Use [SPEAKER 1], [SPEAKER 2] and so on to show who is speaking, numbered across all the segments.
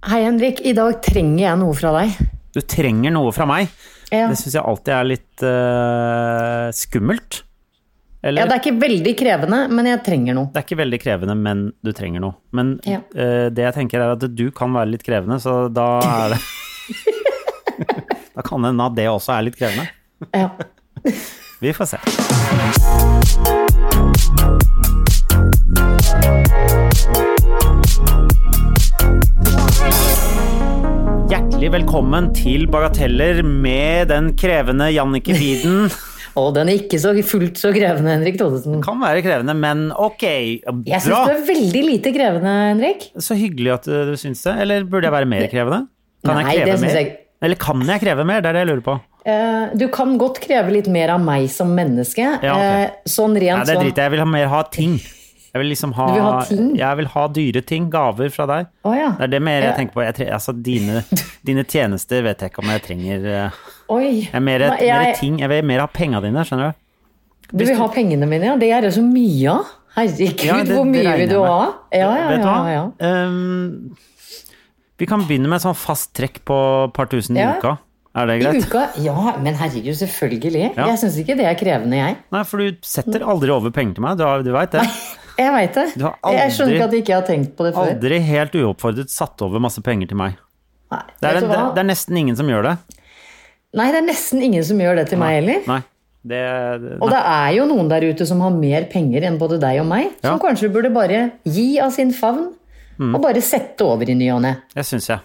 [SPEAKER 1] Hei, Henrik. I dag trenger jeg noe fra deg.
[SPEAKER 2] Du trenger noe fra meg.
[SPEAKER 1] Ja.
[SPEAKER 2] Det syns jeg alltid er litt eh, skummelt.
[SPEAKER 1] ja,
[SPEAKER 2] Eller?
[SPEAKER 1] det er ikke veldig krevende, men jeg trenger noe.
[SPEAKER 2] det er ikke veldig krevende, men du trenger noe. Men
[SPEAKER 1] Ja.
[SPEAKER 2] eh, det jeg tenker er at du kan være litt krevende, så da er det Da kan det hende at det også er litt krevende.
[SPEAKER 1] Ja.
[SPEAKER 2] Vi får se. Hjertelig velkommen til Bagateller med den krevende Jannicke Wieden.
[SPEAKER 1] Og den er ikke så fullt så krevende, Henrik Thodesen.
[SPEAKER 2] Kan være krevende, men ok,
[SPEAKER 1] Jeg syns du
[SPEAKER 2] bra.
[SPEAKER 1] er veldig lite krevende, Henrik.
[SPEAKER 2] Så hyggelig at du du syns det. Eller burde jeg være mer krevende? Kan
[SPEAKER 1] Nei,
[SPEAKER 2] jeg kreve
[SPEAKER 1] det syns
[SPEAKER 2] mer?
[SPEAKER 1] jeg-
[SPEAKER 2] Eller kan jeg kreve mer? Det er det jeg lurer på.
[SPEAKER 1] Eh, Du kan godt kreve litt mer av meg som menneske.
[SPEAKER 2] Ja, ok.
[SPEAKER 1] Eh, Sånn
[SPEAKER 2] Nei,
[SPEAKER 1] rent
[SPEAKER 2] det
[SPEAKER 1] sånn.
[SPEAKER 2] driter jeg i. Jeg vil ha mer ha ting. Jeg vil liksom ha,
[SPEAKER 1] Du vil ha ting?
[SPEAKER 2] Jeg vil ha dyre ting. Gaver fra deg.
[SPEAKER 1] Å ja.
[SPEAKER 2] Det er det mer
[SPEAKER 1] Ja.
[SPEAKER 2] jeg tenker på. Jeg tre, altså, dine, dine tjenester vet jeg ikke om jeg trenger eh,
[SPEAKER 1] Oi.
[SPEAKER 2] Jeg, er mer,
[SPEAKER 1] Nei,
[SPEAKER 2] mer
[SPEAKER 1] jeg-
[SPEAKER 2] ting. jeg vil mer ha penga dine, skjønner du.
[SPEAKER 1] Du vil ha pengene mine, ja. Det er det så mye av. Herregud,
[SPEAKER 2] Ja, det- det
[SPEAKER 1] hvor mye
[SPEAKER 2] regner
[SPEAKER 1] vil
[SPEAKER 2] jeg
[SPEAKER 1] du
[SPEAKER 2] med.
[SPEAKER 1] ha? Ja, ja,
[SPEAKER 2] vet du
[SPEAKER 1] ja,
[SPEAKER 2] hva?
[SPEAKER 1] ja.
[SPEAKER 2] Ehm, vi kan begynne med sånn fast trekk på et par tusen
[SPEAKER 1] Ja.
[SPEAKER 2] i uka. Er det
[SPEAKER 1] I
[SPEAKER 2] greit?
[SPEAKER 1] uka? Ja, men herregud, selvfølgelig.
[SPEAKER 2] Ja.
[SPEAKER 1] Jeg syns ikke det er krevende, jeg.
[SPEAKER 2] Nei, for du setter aldri over penger til meg. Du, har- du veit det.
[SPEAKER 1] Jeg veit det.
[SPEAKER 2] Du har
[SPEAKER 1] Jeg skjønner
[SPEAKER 2] aldri-
[SPEAKER 1] ikke at jeg ikke har tenkt på det før.
[SPEAKER 2] Aldri helt uoppfordret satt over masse penger til meg.
[SPEAKER 1] Nei,
[SPEAKER 2] Det er,
[SPEAKER 1] vet
[SPEAKER 2] det,
[SPEAKER 1] du hva?
[SPEAKER 2] det er nesten ingen som gjør det.
[SPEAKER 1] Nei, det er nesten ingen som gjør det til meg heller.
[SPEAKER 2] Nei. Det, det,
[SPEAKER 1] Og det er jo noen der ute som har mer penger enn både deg og meg, som
[SPEAKER 2] Ja. Mm.
[SPEAKER 1] kanskje burde bare gi av sin favn og bare sette over i ny og ne.
[SPEAKER 2] det syns jeg.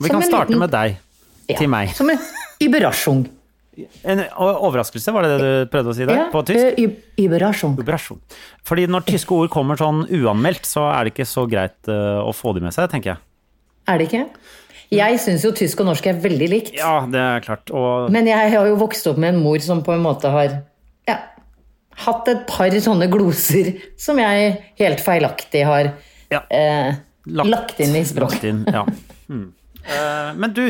[SPEAKER 2] Vi
[SPEAKER 1] Som
[SPEAKER 2] kan
[SPEAKER 1] en
[SPEAKER 2] starte
[SPEAKER 1] liten-
[SPEAKER 2] med deg.
[SPEAKER 1] Ja.
[SPEAKER 2] Til meg.
[SPEAKER 1] Som en überraschung.
[SPEAKER 2] En overraskelse, var det det du prøvde å si der?
[SPEAKER 1] Ja, eh,
[SPEAKER 2] På tysk?
[SPEAKER 1] ø, ü- überraschung.
[SPEAKER 2] Vibrasjon. Fordi når tyske ord kommer sånn uanmeldt, så er det ikke så greit eh, å få de med seg, tenker jeg.
[SPEAKER 1] Er det ikke? Jeg syns jo tysk og norsk er veldig likt,
[SPEAKER 2] Ja, det er klart. Og
[SPEAKER 1] men jeg har jo vokst opp med en mor som på en måte har ja, hatt et par sånne gloser som jeg helt feilaktig har
[SPEAKER 2] Ja.
[SPEAKER 1] eh, lagt. inn i språket.
[SPEAKER 2] lagt inn, ja. Mm. Eh, men du,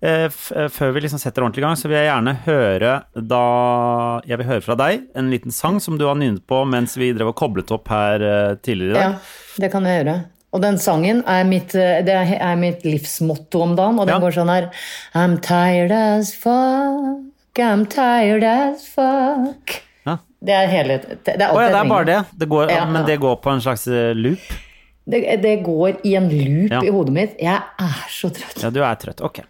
[SPEAKER 2] eh, f eh, før vi liksom setter ordentlig i gang, så vil jeg gjerne høre da Jeg vil høre fra deg en liten sang som du har nynnet på mens vi drev og koblet opp her eh, tidligere i dag.
[SPEAKER 1] Ja, det kan jeg gjøre. Og den sangen er mitt, eh, det er- er mitt livsmotto om dagen, og den
[SPEAKER 2] Ja.
[SPEAKER 1] går sånn her I'm tired as fuck, I'm tired as fuck.
[SPEAKER 2] Ja.
[SPEAKER 1] Det er hele Det, det er alt
[SPEAKER 2] Å ja,
[SPEAKER 1] jeg
[SPEAKER 2] det er
[SPEAKER 1] trenger.
[SPEAKER 2] bare det. det går,
[SPEAKER 1] Ja,
[SPEAKER 2] Men
[SPEAKER 1] ja.
[SPEAKER 2] det går på en slags eh, loop?
[SPEAKER 1] Det, det går i en loop
[SPEAKER 2] Ja.
[SPEAKER 1] i hodet mitt. Jeg er så trøtt.
[SPEAKER 2] Ja, du er trøtt. Ok.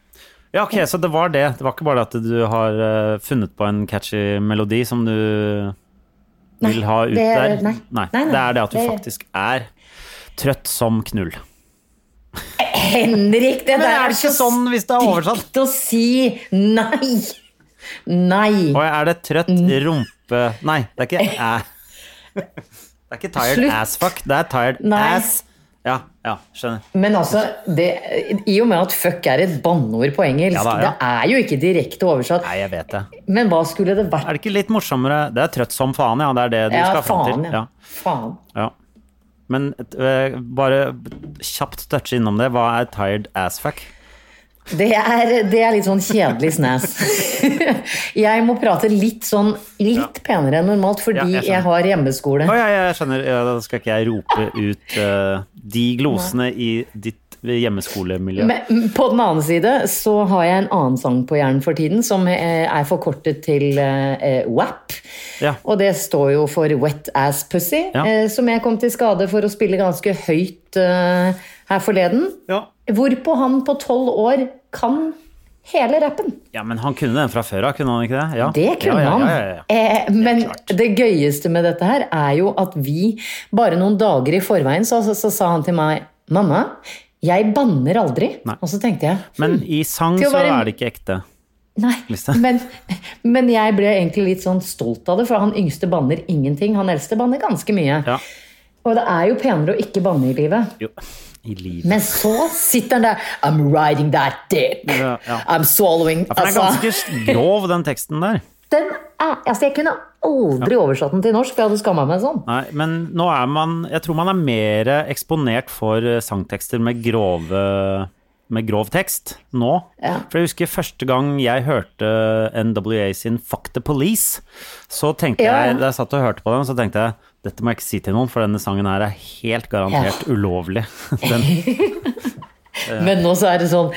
[SPEAKER 2] Ja, ok, Så det var det. Det var ikke bare at du har eh, funnet på en catchy melodi som du vil ha ut
[SPEAKER 1] det er-
[SPEAKER 2] der?
[SPEAKER 1] nei. Nei, nei,
[SPEAKER 2] Det er det at du
[SPEAKER 1] det-
[SPEAKER 2] faktisk er trøtt som knull.
[SPEAKER 1] Henrik, det
[SPEAKER 2] Men
[SPEAKER 1] der
[SPEAKER 2] er det ikke
[SPEAKER 1] så
[SPEAKER 2] sånn hvis det er oversatt?
[SPEAKER 1] stygt å si. Nei! Nei.
[SPEAKER 2] Og er det trøtt
[SPEAKER 1] Mm.
[SPEAKER 2] rumpe Nei, det er ikke æ. Det er ikke tired
[SPEAKER 1] Slutt.
[SPEAKER 2] ass fuck, det er tired
[SPEAKER 1] Nei.
[SPEAKER 2] ass. Ja, ja, skjønner.
[SPEAKER 1] Men altså, det, i og med at fuck er et banneord på engelsk,
[SPEAKER 2] Ja da, ja.
[SPEAKER 1] det er jo ikke direkte oversatt.
[SPEAKER 2] Nei, jeg vet det.
[SPEAKER 1] Men hva skulle det vært?
[SPEAKER 2] Er det ikke litt morsommere Det er trøtt som faen, ja. Det er det du
[SPEAKER 1] Ja,
[SPEAKER 2] skal fram
[SPEAKER 1] faen,
[SPEAKER 2] til.
[SPEAKER 1] ja.
[SPEAKER 2] Ja.
[SPEAKER 1] Faen.
[SPEAKER 2] Ja. Men eh, bare kjapt touche innom det. Hva er tired as fuck?
[SPEAKER 1] Det er, det er litt sånn kjedelig snes. jeg må prate litt sånn litt penere enn normalt fordi
[SPEAKER 2] Ja, jeg
[SPEAKER 1] jeg,
[SPEAKER 2] skjønner.
[SPEAKER 1] har hjemmeskole.
[SPEAKER 2] Å ja, ja, jeg skjønner. Ja, da skal ikke jeg rope ut eh, de glosene i ditt hjemmeskolemiljø.
[SPEAKER 1] Men på den annen side så har jeg en annen sang på hjernen for tiden som eh, er forkortet til eh, eh, WAP.
[SPEAKER 2] Ja.
[SPEAKER 1] Og det står jo for Wet Ass Pussy,
[SPEAKER 2] Ja.
[SPEAKER 1] eh, som jeg kom til skade for å spille ganske høyt eh, her forleden.
[SPEAKER 2] Ja.
[SPEAKER 1] Hvorpå han på tolv år kan hele rappen.
[SPEAKER 2] ja, men han kunne den fra før av, kunne han ikke det? Ja.
[SPEAKER 1] Det kunne
[SPEAKER 2] ja,
[SPEAKER 1] han.
[SPEAKER 2] ja, ja, ja, ja.
[SPEAKER 1] Eh, men det gøyeste med dette her er jo at vi bare noen dager i forveien så, så, så sa han til meg Mamma, jeg banner aldri.
[SPEAKER 2] Nei.
[SPEAKER 1] Og så tenkte jeg
[SPEAKER 2] Men i sang
[SPEAKER 1] Til å
[SPEAKER 2] så
[SPEAKER 1] være-
[SPEAKER 2] er det ikke ekte.
[SPEAKER 1] nei.
[SPEAKER 2] Visst det.
[SPEAKER 1] Men, men jeg ble egentlig litt sånn stolt av det, for han yngste banner ingenting. Han eldste banner ganske mye.
[SPEAKER 2] Ja.
[SPEAKER 1] Og det er jo penere å ikke banne i livet.
[SPEAKER 2] Jo. I livet.
[SPEAKER 1] Men så sitter han der I'm riding that dick.
[SPEAKER 2] Ja, ja.
[SPEAKER 1] I'm swallowing altså,
[SPEAKER 2] Ja, for den er ganske grov, den teksten der.
[SPEAKER 1] den er, altså, Jeg kunne aldri oversatt den til norsk, for jeg hadde skamma meg sånn.
[SPEAKER 2] Nei, men nå er man Jeg tror man er mer eksponert for eh, sangtekster med grove med grov tekst nå.
[SPEAKER 1] Ja.
[SPEAKER 2] For jeg husker første gang jeg hørte NWA sin Fuck the Police, så tenkte
[SPEAKER 1] Ja, ja.
[SPEAKER 2] jeg Da jeg satt og hørte på den, så tenkte jeg dette må jeg ikke si til noen, for denne sangen her er helt garantert ulovlig. Den,
[SPEAKER 1] Men nå så er det sånn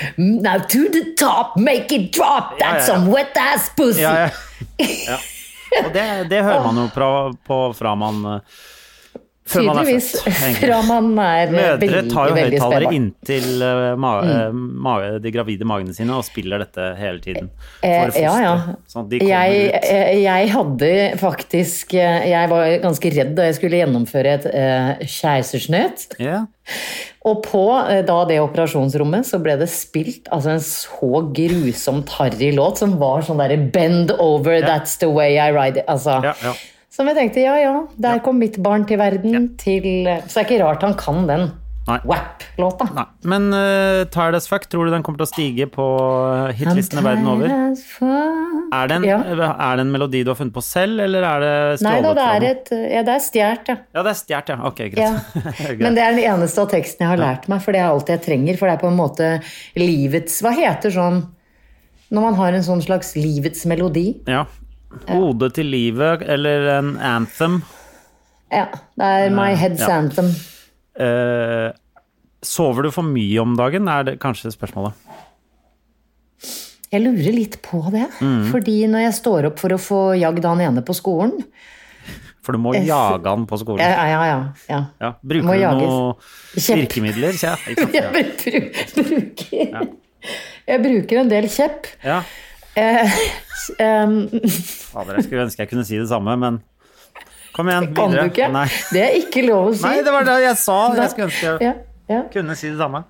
[SPEAKER 1] Now to the top, make it drop,
[SPEAKER 2] Ja, ja,
[SPEAKER 1] that's
[SPEAKER 2] ja.
[SPEAKER 1] some wet ass pussy!
[SPEAKER 2] Ja, ja. ja. Og det, det hører man jo fra, på fra man eh, Før man er
[SPEAKER 1] Tydeligvis.
[SPEAKER 2] født. egentlig.
[SPEAKER 1] Fra man er veldig,
[SPEAKER 2] Mødre tar jo
[SPEAKER 1] veldig Mm.
[SPEAKER 2] høyttalere
[SPEAKER 1] spedbarn.
[SPEAKER 2] inntil eh, ma eh, ma- de gravide magene sine og spiller dette hele tiden.
[SPEAKER 1] Eh,
[SPEAKER 2] For fosteret.
[SPEAKER 1] ja, ja.
[SPEAKER 2] Sånn at de kommer
[SPEAKER 1] Jeg,
[SPEAKER 2] ut.
[SPEAKER 1] eh, jeg hadde faktisk eh, Jeg var ganske redd da jeg skulle gjennomføre et eh, keisersnitt.
[SPEAKER 2] Ja.
[SPEAKER 1] Og på eh, da det operasjonsrommet så ble det spilt altså en så grusomt harry låt som var sånn derre 'Bend over, that's the way I ride it'. Altså,
[SPEAKER 2] Ja, ja.
[SPEAKER 1] Som jeg tenkte ja ja, der kom mitt barn til verden. Til, eh, så det er ikke rart han kan den
[SPEAKER 2] Nei.
[SPEAKER 1] WAP-låta.
[SPEAKER 2] Nei. Men uh, Tired as fuck, tror du den kommer til å stige på eh, hitlistene verden over? Er det, en, eh,
[SPEAKER 1] Ja.
[SPEAKER 2] er det en melodi du har funnet på selv, eller er det
[SPEAKER 1] Nei da,
[SPEAKER 2] stjålet?
[SPEAKER 1] det
[SPEAKER 2] fra
[SPEAKER 1] er
[SPEAKER 2] noen?
[SPEAKER 1] et Ja, det er stjålet, ja.
[SPEAKER 2] Ja, det er stjålet, ja. Ok, greit.
[SPEAKER 1] Ja.
[SPEAKER 2] Greit.
[SPEAKER 1] Men det er den eneste av teksten jeg har lært meg, for det er alt jeg trenger. For det er på en måte livets Hva heter sånn når man har en sånn slags livets melodi?
[SPEAKER 2] Ja. Ode til livet, eller en anthem.
[SPEAKER 1] Ja, det er My Head's
[SPEAKER 2] ja.
[SPEAKER 1] Anthem.
[SPEAKER 2] Eh, sover du for mye om dagen, er det kanskje spørsmålet.
[SPEAKER 1] Jeg lurer litt på det.
[SPEAKER 2] Mhm.
[SPEAKER 1] Fordi når jeg står opp for å få jagd han ene på skolen
[SPEAKER 2] For du må
[SPEAKER 1] Eh,
[SPEAKER 2] jage han på skolen.
[SPEAKER 1] Ja, ja, ja. ja.
[SPEAKER 2] Ja, bruker
[SPEAKER 1] Må
[SPEAKER 2] du
[SPEAKER 1] jages.
[SPEAKER 2] noen
[SPEAKER 1] Kjepp.
[SPEAKER 2] virkemidler? Ja, ikke
[SPEAKER 1] Jeg
[SPEAKER 2] sant?
[SPEAKER 1] bru, bruker Jeg bruker en del kjepp.
[SPEAKER 2] Ja.
[SPEAKER 1] Eh, em,
[SPEAKER 2] Fader, jeg skulle ønske jeg kunne si det samme, men Kom igjen,
[SPEAKER 1] kan du
[SPEAKER 2] videre.
[SPEAKER 1] ikke?
[SPEAKER 2] Nei.
[SPEAKER 1] Det er ikke lov å si.
[SPEAKER 2] Nei, det var det jeg sa. Jeg skulle ønske jeg
[SPEAKER 1] ja, ja.
[SPEAKER 2] kunne si det samme.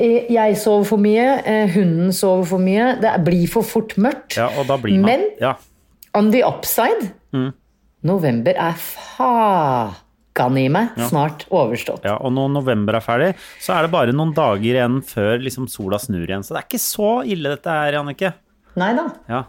[SPEAKER 1] Eh, Jeg sover for mye, eh, hunden sover for mye. Det blir for fort mørkt.
[SPEAKER 2] Ja, og da blir man
[SPEAKER 1] Men-
[SPEAKER 2] ja.
[SPEAKER 1] On the upside
[SPEAKER 2] Mm.
[SPEAKER 1] November er fagan i meg snart overstått.
[SPEAKER 2] ja, Og når november er ferdig, så er det bare noen dager igjen før liksom sola snur igjen. Så det er ikke så ille dette her, Jannicke.
[SPEAKER 1] Nei da.
[SPEAKER 2] Ja.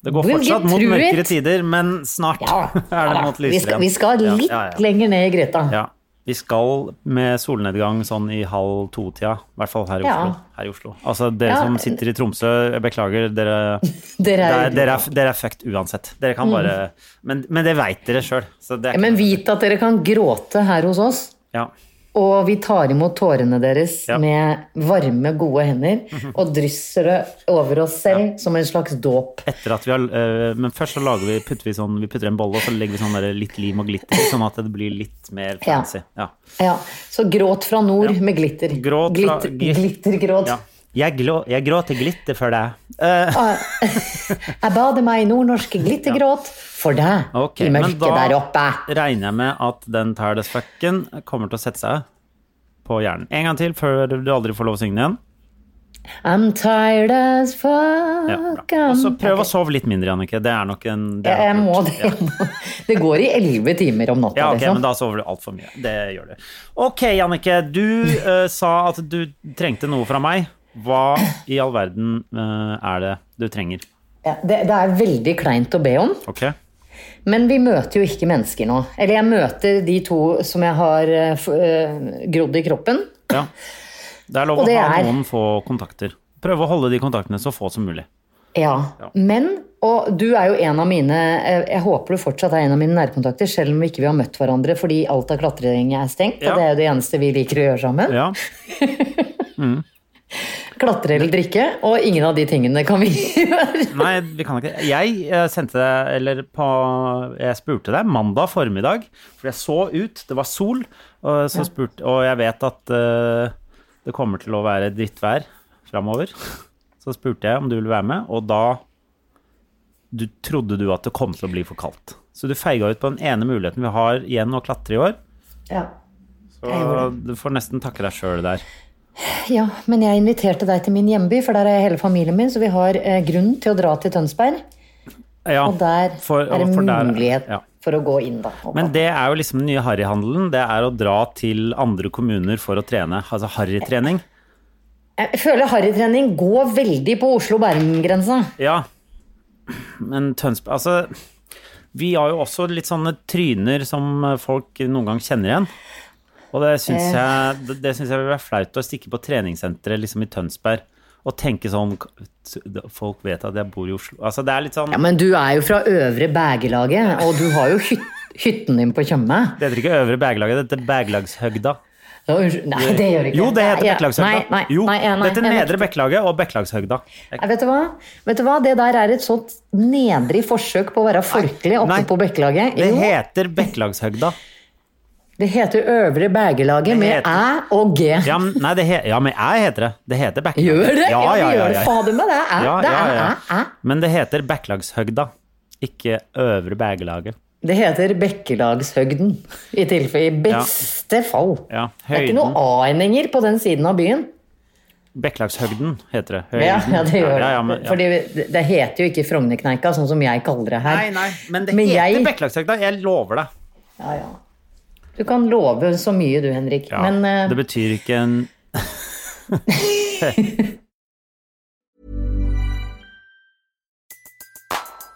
[SPEAKER 2] Det går
[SPEAKER 1] We'll
[SPEAKER 2] fortsatt
[SPEAKER 1] get
[SPEAKER 2] mot
[SPEAKER 1] through
[SPEAKER 2] mørkere
[SPEAKER 1] it.
[SPEAKER 2] tider, men snart
[SPEAKER 1] Ja,
[SPEAKER 2] er det
[SPEAKER 1] da.
[SPEAKER 2] mot lysere
[SPEAKER 1] vi, skal, vi
[SPEAKER 2] igjen.
[SPEAKER 1] skal
[SPEAKER 2] Ja,
[SPEAKER 1] litt
[SPEAKER 2] ja, ja.
[SPEAKER 1] lenger ned i Greta.
[SPEAKER 2] Ja. Vi skal med solnedgang sånn i halv to-tida, i hvert fall her i,
[SPEAKER 1] Ja.
[SPEAKER 2] Oslo. her i Oslo. Altså, dere
[SPEAKER 1] Ja.
[SPEAKER 2] som sitter i Tromsø, jeg beklager, dere,
[SPEAKER 1] Dere er, Mm.
[SPEAKER 2] dere, er, dere, er, dere er fucked uansett. Dere kan bare Men, men det veit dere sjøl, så det er
[SPEAKER 1] Men vit at dere kan gråte her hos oss.
[SPEAKER 2] ja.
[SPEAKER 1] Og vi tar imot tårene deres
[SPEAKER 2] Ja. Mhm.
[SPEAKER 1] med varme, gode hender og drysser det over oss selv som en slags dåp.
[SPEAKER 2] Etter at vi har øh, Men først så lager vi, putter vi sånn Vi putter en bolle, og så legger vi sånn der litt lim og glitter, sånn at det blir litt mer
[SPEAKER 1] Ja.
[SPEAKER 2] fancy. Ja.
[SPEAKER 1] Ja, Så gråt fra nord med glitter.
[SPEAKER 2] Gråt fra-
[SPEAKER 1] glitter glittergråt.
[SPEAKER 2] ja. Jeg, glå, jeg gråter glitter for deg. Eh,
[SPEAKER 1] Ah, Jeg bader meg i nordnorsk glittergråt for deg
[SPEAKER 2] Ok,
[SPEAKER 1] i
[SPEAKER 2] men
[SPEAKER 1] mørket
[SPEAKER 2] da-
[SPEAKER 1] der oppe.
[SPEAKER 2] regner jeg med at den tiredest fucken kommer til å sette seg på hjernen. En gang til før du aldri får lov å synge den igjen.
[SPEAKER 1] I'm tired as fuck.
[SPEAKER 2] Ja, bra. Og så prøv å sove litt mindre, Jannicke. Det er nok en det
[SPEAKER 1] Jeg,
[SPEAKER 2] er
[SPEAKER 1] jeg
[SPEAKER 2] nok
[SPEAKER 1] må
[SPEAKER 2] lurt.
[SPEAKER 1] det. Det går i elleve timer om natta,
[SPEAKER 2] Ja, ok, men
[SPEAKER 1] liksom.
[SPEAKER 2] da sover du altfor mye. Det gjør du. Ok, Jannicke. Du eh, sa at du trengte noe fra meg. Hva i all verden eh, er det du trenger?
[SPEAKER 1] Ja, det, det er veldig kleint å be om.
[SPEAKER 2] Ok?
[SPEAKER 1] Men vi møter jo ikke mennesker nå. Eller jeg møter de to som jeg har eh, f- eh, grodd i kroppen.
[SPEAKER 2] Ja. Det er lov
[SPEAKER 1] Og
[SPEAKER 2] å
[SPEAKER 1] det
[SPEAKER 2] ha
[SPEAKER 1] er-
[SPEAKER 2] noen få kontakter. Prøve å holde de kontaktene så få som mulig.
[SPEAKER 1] Ja. Men, og du er jo en av mine eh, Jeg håper du fortsatt er en av mine nærkontakter, selv om vi ikke har møtt hverandre fordi alt av klatring er stengt.
[SPEAKER 2] Ja.
[SPEAKER 1] Og det er jo det eneste vi liker å gjøre sammen.
[SPEAKER 2] Ja.
[SPEAKER 1] Klatre eller drikke. Og ingen av de tingene kan vi gjøre.
[SPEAKER 2] Nei, vi kan ikke det. Jeg eh, sendte deg, eller på Jeg spurte deg mandag formiddag, for jeg så ut, det var sol, og, så spurte, og jeg vet at eh, det kommer til å være drittvær framover. Så spurte jeg om du ville være med, og da du, trodde du at det kom til å bli for kaldt. Så du feiga ut på den ene muligheten vi har igjen å klatre i år.
[SPEAKER 1] Ja.
[SPEAKER 2] Så du får nesten takke deg sjøl der.
[SPEAKER 1] ja, men jeg inviterte deg til min hjemby, for der er hele familien min, så vi har eh, grunn til å dra til Tønsberg.
[SPEAKER 2] Ja,
[SPEAKER 1] Og der er det
[SPEAKER 2] for der-
[SPEAKER 1] mulighet
[SPEAKER 2] ja.
[SPEAKER 1] for å gå inn, da. Og
[SPEAKER 2] Men det er jo liksom den nye harryhandelen. Det er å dra til andre kommuner for å trene. Altså harrytrening.
[SPEAKER 1] Jeg føler harrytrening går veldig på Oslo-Bærum-grensa.
[SPEAKER 2] Ja. Men Tønsberg Altså, vi har jo også litt sånne tryner som folk noen gang kjenner igjen. Og det
[SPEAKER 1] Eh.
[SPEAKER 2] syns jeg, det- det syns jeg vil være flaut å stikke på treningssenteret liksom i Tønsberg og tenke sånn Folk vet at jeg bor i Oslo. Altså, det er litt sånn
[SPEAKER 1] Ja, men du er jo fra Øvre Bægelaget, og du har jo hyt hytten din på Tjøme.
[SPEAKER 2] Det heter ikke Øvre Bergelaget, det heter Bergelagshøgda.
[SPEAKER 1] Nå, unnskyld. Nei, det gjør det ikke.
[SPEAKER 2] Jo, det heter
[SPEAKER 1] Nei,
[SPEAKER 2] Bekkelagshøgda.
[SPEAKER 1] Nei, nei,
[SPEAKER 2] jo,
[SPEAKER 1] nei, nei,
[SPEAKER 2] dette
[SPEAKER 1] jeg
[SPEAKER 2] Nedre Bekkelaget og Bekkelagshøgda.
[SPEAKER 1] Nei, vet, du hva? vet du hva? Det der er et sånt nedrig forsøk på å være folkelig oppe
[SPEAKER 2] Nei.
[SPEAKER 1] på Bekkelaget.
[SPEAKER 2] Det
[SPEAKER 1] Jo,
[SPEAKER 2] heter Bekkelagshøgda.
[SPEAKER 1] det heter Øvre Bergelaget med
[SPEAKER 2] heter-
[SPEAKER 1] æ og g.
[SPEAKER 2] Ja, men, nei, det he ja, men jeg heter det. Det heter Bekkelaget.
[SPEAKER 1] Gjør det?
[SPEAKER 2] Ja, ja, ja,
[SPEAKER 1] gjør det.
[SPEAKER 2] ja.
[SPEAKER 1] Fader meg, det er æ.
[SPEAKER 2] Ja,
[SPEAKER 1] det
[SPEAKER 2] ja,
[SPEAKER 1] er eh,
[SPEAKER 2] ja.
[SPEAKER 1] æ, æ.
[SPEAKER 2] Men det heter Bekkelagshøgda, ikke Øvre Bergelaget.
[SPEAKER 1] Det heter Bekkelagshøgden, i tilfelle. I beste fall.
[SPEAKER 2] Ja,
[SPEAKER 1] Det er ikke
[SPEAKER 2] høyden.
[SPEAKER 1] noen a-endinger på den siden av byen.
[SPEAKER 2] Bekkelagshøgden heter det.
[SPEAKER 1] Ja, ja, det gjør det.
[SPEAKER 2] Ja, ja, men, ja.
[SPEAKER 1] Fordi det- det heter jo ikke Frognerkneika, sånn som jeg kaller det her.
[SPEAKER 2] Nei, nei, men det
[SPEAKER 1] Men
[SPEAKER 2] heter
[SPEAKER 1] jeg-
[SPEAKER 2] Bekkelagshøgda. Jeg lover deg.
[SPEAKER 1] Ja, ja. Du kan love så mye du, Henrik.
[SPEAKER 2] Ja,
[SPEAKER 1] men eh,
[SPEAKER 2] det betyr ikke en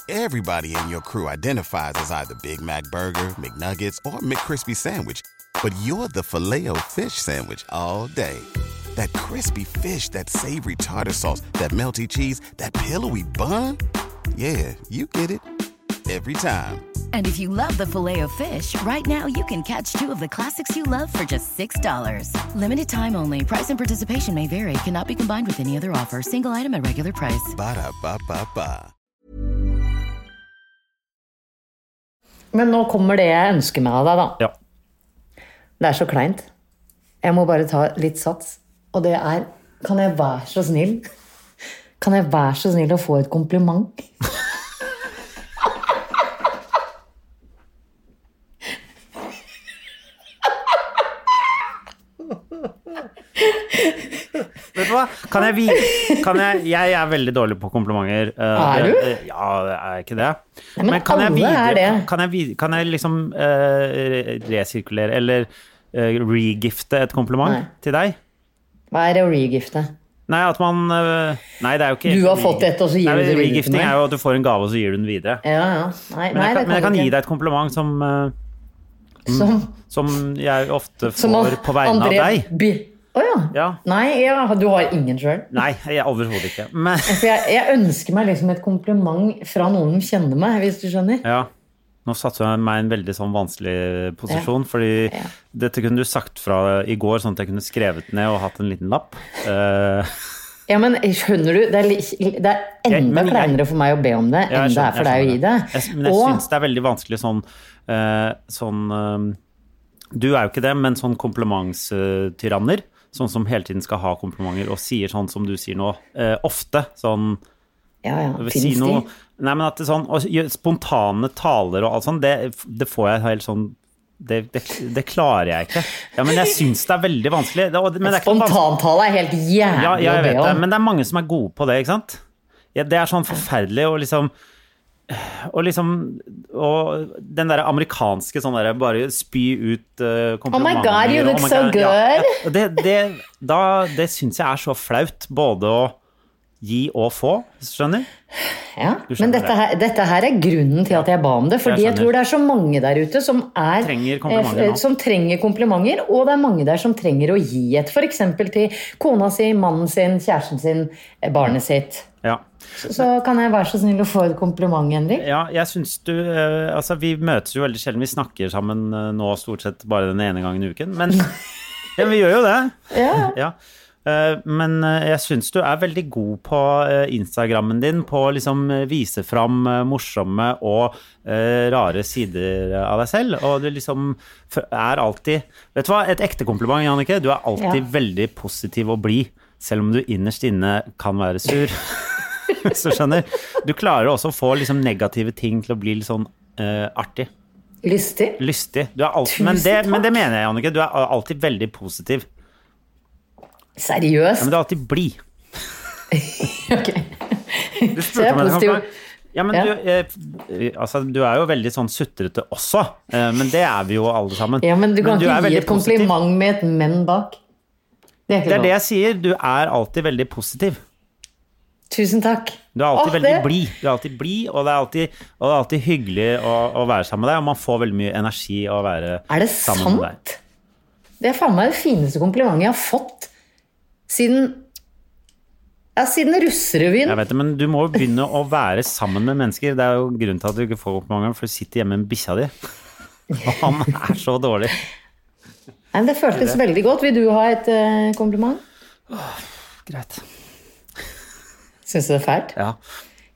[SPEAKER 3] Everybody in your crew identifies as either Big Mac Burger, McNuggets, or McCrispy Sandwich. But you're the filet fish Sandwich all day. That crispy fish, that savory tartar sauce, that melty cheese, that pillowy bun. Yeah, you get it. Every time.
[SPEAKER 4] And if you love the filet of fish, right now you can catch two of the classics you love for just $6. Limited time only. Price and participation may vary. Cannot be combined with any other offer. Single item at regular price.
[SPEAKER 3] Ba-da-ba-ba-ba.
[SPEAKER 1] Men nå kommer det jeg ønsker meg av deg, da.
[SPEAKER 2] Ja.
[SPEAKER 1] Det er så kleint. Jeg må bare ta litt sats. Og det er Kan jeg være så snill? Kan jeg være så snill å få et kompliment?
[SPEAKER 2] Vet du hva? Kan jeg vi... Kan jeg... jeg er veldig dårlig på komplimenter. Eh,
[SPEAKER 1] Er
[SPEAKER 2] det-
[SPEAKER 1] du?
[SPEAKER 2] eh, Ja, er jeg ikke det?
[SPEAKER 1] Nei, men alle er det.
[SPEAKER 2] Kan jeg, vide- kan jeg liksom eh, resirkulere eller eh, regifte et kompliment
[SPEAKER 1] Nei.
[SPEAKER 2] til deg?
[SPEAKER 1] Hva er det å regifte?
[SPEAKER 2] Nei, at man eh, Nei, det er jo ikke
[SPEAKER 1] Du har fått et, og så gir
[SPEAKER 2] Nei,
[SPEAKER 1] du det videre til
[SPEAKER 2] Regifting
[SPEAKER 1] meg.
[SPEAKER 2] er jo at du får en gave, og så gir du den videre.
[SPEAKER 1] Ja, ja. Nei,
[SPEAKER 2] Men jeg
[SPEAKER 1] nei,
[SPEAKER 2] kan, men jeg kan
[SPEAKER 1] det
[SPEAKER 2] gi
[SPEAKER 1] kan du ikke.
[SPEAKER 2] deg et kompliment som, eh,
[SPEAKER 1] Som,
[SPEAKER 2] som jeg ofte
[SPEAKER 1] som
[SPEAKER 2] får på vegne
[SPEAKER 1] André
[SPEAKER 2] av deg.
[SPEAKER 1] By- Å ja.
[SPEAKER 2] Ja.
[SPEAKER 1] Nei, ja, du har ingen sjøl.
[SPEAKER 2] Nei, jeg overhodet ikke. Men
[SPEAKER 1] For jeg, jeg ønsker meg liksom et kompliment fra noen som kjenner meg, hvis du skjønner.
[SPEAKER 2] ja. Nå satte jeg meg i en veldig sånn vanskelig posisjon, fordi dette kunne du sagt fra i går, sånn at jeg kunne skrevet ned og hatt en liten lapp. Eh,
[SPEAKER 1] Ja, men skjønner du, det er, li- det er
[SPEAKER 2] Jeg-
[SPEAKER 1] enda
[SPEAKER 2] men jeg-
[SPEAKER 1] kleinere for meg å be om det
[SPEAKER 2] jeg
[SPEAKER 1] enn det
[SPEAKER 2] skjønner-
[SPEAKER 1] er for deg
[SPEAKER 2] jeg
[SPEAKER 1] å gi det.
[SPEAKER 2] skjønner Jeg, men jeg
[SPEAKER 1] Og-
[SPEAKER 2] syns det er veldig vanskelig sånn, eh, sånn eh, Du er jo ikke det, men sånn komplimentstyranner. Sånn som hele tiden skal ha komplimenter og sier sånn som du sier nå, eh, ofte. Sånn
[SPEAKER 1] Ja, ja.
[SPEAKER 2] si
[SPEAKER 1] Finnes
[SPEAKER 2] noe,
[SPEAKER 1] de?
[SPEAKER 2] Nei, men at det sånn, og gjø- Spontane taler og alt sånt, det, det får jeg helt sånn det, det, det klarer jeg ikke. Ja, men jeg syns det er veldig vanskelig. Det, og, men det er ikke vanskelig.
[SPEAKER 1] Spontantale er helt jævlig å
[SPEAKER 2] Ja, ja, jeg
[SPEAKER 1] be
[SPEAKER 2] vet det,
[SPEAKER 1] om.
[SPEAKER 2] men det er mange som er gode på det, ikke sant? Ja, det er sånn forferdelig å liksom og liksom Og den derre amerikanske sånn derre bare spy ut uh, komplimenter
[SPEAKER 1] Oh God, you
[SPEAKER 2] og, Oh
[SPEAKER 1] look
[SPEAKER 2] my
[SPEAKER 1] so
[SPEAKER 2] God, ja,
[SPEAKER 1] good.
[SPEAKER 2] ja. Og Det, det, da, det syns jeg er så flaut, både å gi og få, hvis du skjønner?
[SPEAKER 1] Ja.
[SPEAKER 2] Du skjønner
[SPEAKER 1] Men dette
[SPEAKER 2] det.
[SPEAKER 1] her, dette her er grunnen til at jeg ba om det. Fordi jeg,
[SPEAKER 2] skjønner.
[SPEAKER 1] tror det er så mange der ute som, er,
[SPEAKER 2] Trenger komplimenter
[SPEAKER 1] eh,
[SPEAKER 2] nå.
[SPEAKER 1] som trenger komplimenter, og det er mange der som trenger å gi et. F.eks. til kona si, mannen sin, kjæresten sin, eh, barnet sitt.
[SPEAKER 2] Ja.
[SPEAKER 1] Så kan jeg være så snill å få et kompliment, Henrik?
[SPEAKER 2] ja jeg syns du eh, Altså, vi møtes jo veldig sjelden. Vi snakker sammen eh, nå stort sett bare den ene gangen i uken, men ja, vi gjør jo det.
[SPEAKER 1] Ja.
[SPEAKER 2] Ja. Eh, Men eh, jeg syns du er veldig god på eh, Instagrammen din på å liksom eh, vise fram eh, morsomme og eh, rare sider av deg selv. Og du liksom f- er alltid Vet du hva, et ekte kompliment, Jannicke. Du er alltid
[SPEAKER 1] Ja.
[SPEAKER 2] veldig positiv og blid. Selv om du innerst inne kan være sur. Hvis du skjønner. Du klarer også å få liksom negative ting til å bli litt sånn eh, artig.
[SPEAKER 1] Lystig?
[SPEAKER 2] Lystig. Du er alltid,
[SPEAKER 1] Tusen
[SPEAKER 2] men, det, men
[SPEAKER 1] takk.
[SPEAKER 2] det mener jeg, Jannicke. Du er alltid veldig positiv. Ja,
[SPEAKER 1] Seriøst?
[SPEAKER 2] men du er alltid blid. Du
[SPEAKER 1] Så jeg
[SPEAKER 2] spurte
[SPEAKER 1] er
[SPEAKER 2] meg det
[SPEAKER 1] positiv.
[SPEAKER 2] kan- Ja, men
[SPEAKER 1] Ja.
[SPEAKER 2] Du, eh, f- altså, du er jo veldig sånn sutrete også, eh, men det er vi jo alle sammen.
[SPEAKER 1] Ja, men du kan
[SPEAKER 2] er
[SPEAKER 1] ikke gi
[SPEAKER 2] veldig
[SPEAKER 1] et
[SPEAKER 2] positiv.
[SPEAKER 1] kompliment med et menn bak. Det er
[SPEAKER 2] Det
[SPEAKER 1] ikke
[SPEAKER 2] er
[SPEAKER 1] lov.
[SPEAKER 2] det jeg sier, du er alltid veldig positiv.
[SPEAKER 1] Tusen takk.
[SPEAKER 2] Du er alltid
[SPEAKER 1] Åh,
[SPEAKER 2] veldig
[SPEAKER 1] det-
[SPEAKER 2] blid, Du er alltid blid, og det er alltid, og det er alltid hyggelig å, å være sammen med deg, og man får veldig mye energi av å være
[SPEAKER 1] Er det
[SPEAKER 2] sammen med deg.
[SPEAKER 1] sant? Det er faen meg det fineste komplimentet jeg har fått siden Ja, siden
[SPEAKER 2] Jeg
[SPEAKER 1] russerevyen.
[SPEAKER 2] vet det, men du må jo begynne å være sammen med mennesker. Det er jo grunnen til at du ikke får opp mange ganger, for du sitter hjemme med bikkja di. Og han er så dårlig.
[SPEAKER 1] Nei, men det føltes veldig godt. Vil du ha et eh, kompliment?
[SPEAKER 2] Greit.
[SPEAKER 1] Syns du det er fælt?
[SPEAKER 2] Ja.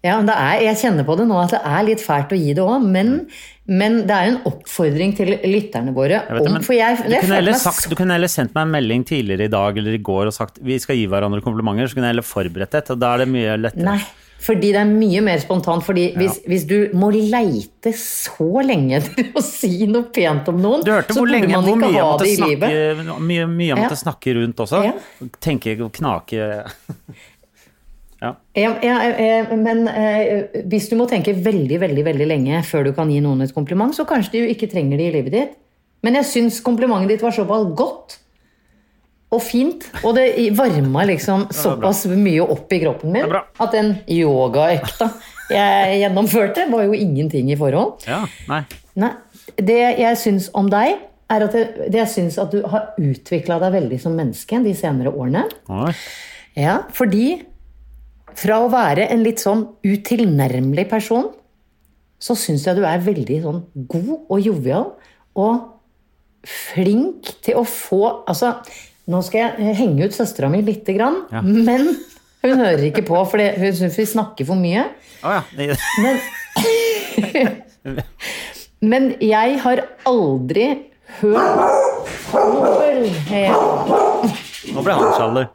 [SPEAKER 1] Ja, men det er, jeg kjenner på det nå at det er litt fælt å gi det òg, men, men det er jo en oppfordring til lytterne våre
[SPEAKER 2] Jeg vet det,
[SPEAKER 1] om
[SPEAKER 2] men
[SPEAKER 1] For jeg,
[SPEAKER 2] du,
[SPEAKER 1] jeg
[SPEAKER 2] kunne
[SPEAKER 1] føler
[SPEAKER 2] heller
[SPEAKER 1] meg
[SPEAKER 2] sagt, du kunne heller sendt meg en melding tidligere i dag eller i går og sagt vi skal gi hverandre komplimenter, så kunne jeg heller forberedt deg. Da er det mye lettere.
[SPEAKER 1] Nei, fordi det er mye mer spontant. fordi hvis, hvis du må leite så lenge etter å si noe pent om noen,
[SPEAKER 2] Du hørte
[SPEAKER 1] så
[SPEAKER 2] hvor,
[SPEAKER 1] burde
[SPEAKER 2] lenge,
[SPEAKER 1] man
[SPEAKER 2] hvor
[SPEAKER 1] ikke
[SPEAKER 2] mye jeg
[SPEAKER 1] ha
[SPEAKER 2] måtte
[SPEAKER 1] det i
[SPEAKER 2] snakke,
[SPEAKER 1] livet.
[SPEAKER 2] mye, mye jeg
[SPEAKER 1] Ja.
[SPEAKER 2] måtte snakke rundt også.
[SPEAKER 1] Ja.
[SPEAKER 2] Tenke og knake ja.
[SPEAKER 1] Ja, ja, eh, men eh, hvis du må tenke veldig, veldig veldig lenge før du kan gi noen et kompliment, så kanskje de jo ikke trenger det i livet ditt. Men jeg syns komplimentet ditt var såpass godt og fint, og det i- varma liksom
[SPEAKER 2] bra.
[SPEAKER 1] såpass mye opp i kroppen min
[SPEAKER 2] Det er bra.
[SPEAKER 1] at den yogaøkta jeg gjennomførte, var jo ingenting i forhold.
[SPEAKER 2] ja. Nei.
[SPEAKER 1] Nei, det jeg syns om deg, er at, jeg, det jeg syns at du har utvikla deg veldig som menneske de senere årene.
[SPEAKER 2] Oi.
[SPEAKER 1] Ja, fordi fra å være en litt sånn utilnærmelig person, så syns jeg du er veldig sånn god og jovial og flink til å få Altså, nå skal jeg henge ut søstera mi lite grann,
[SPEAKER 2] Ja.
[SPEAKER 1] men hun hører ikke på, for hun syns vi snakker for mye.
[SPEAKER 2] Å ja.
[SPEAKER 1] Men, men jeg har aldri hørt Nobel.
[SPEAKER 2] Nå ble han sjaler.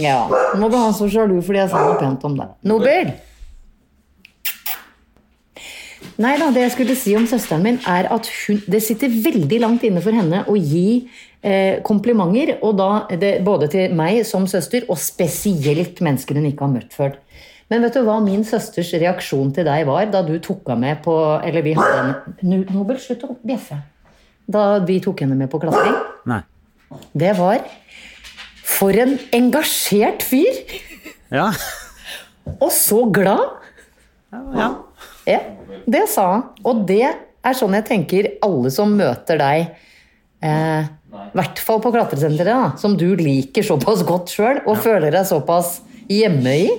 [SPEAKER 1] Ja, nå ble han så sjalu fordi jeg sa noe pent om deg. Nobel! Nei da, det jeg skulle si om søsteren min, er at hun, det sitter veldig langt inne for henne å gi eh, komplimenter, og da det, både til meg som søster, og spesielt mennesker hun ikke har møtt før. Men vet du hva min søsters reaksjon til deg var da du tok henne med på Eller vi hadde en Nu- Nobel, slutt å bjeffe. Da vi tok henne med på klatring.
[SPEAKER 2] Nei.
[SPEAKER 1] Det var For en engasjert fyr!
[SPEAKER 2] Ja.
[SPEAKER 1] Og så glad!
[SPEAKER 2] ja.
[SPEAKER 1] Ja, det sa han. Og det er sånn jeg tenker alle som møter deg, i eh, hvert fall på klatresenteret, da, som du liker såpass godt sjøl og føler deg såpass hjemme i,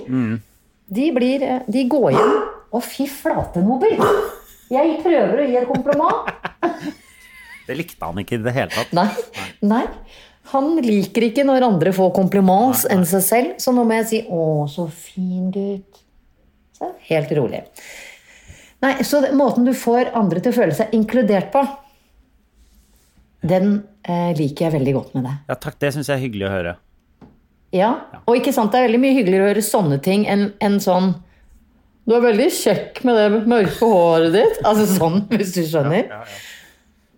[SPEAKER 1] de, blir, eh, de går hjem Å, fy flate, Nobel! Jeg prøver å gi et kompliment.
[SPEAKER 2] Det likte han ikke i det hele tatt.
[SPEAKER 1] Nei. nei. Han liker ikke når andre får kompliments enn seg selv, så nå må jeg si 'Å, så fin gutt'. Så helt rolig. Nei, så det- måten du får andre til å føle seg inkludert på, den eh, liker jeg veldig godt med deg.
[SPEAKER 2] Ja, takk, det syns jeg er hyggelig å høre.
[SPEAKER 1] Ja, og ikke sant, det er veldig mye hyggeligere å høre sånne ting enn enn sånn Du er veldig kjekk med det mørke håret ditt. Altså sånn, hvis du skjønner.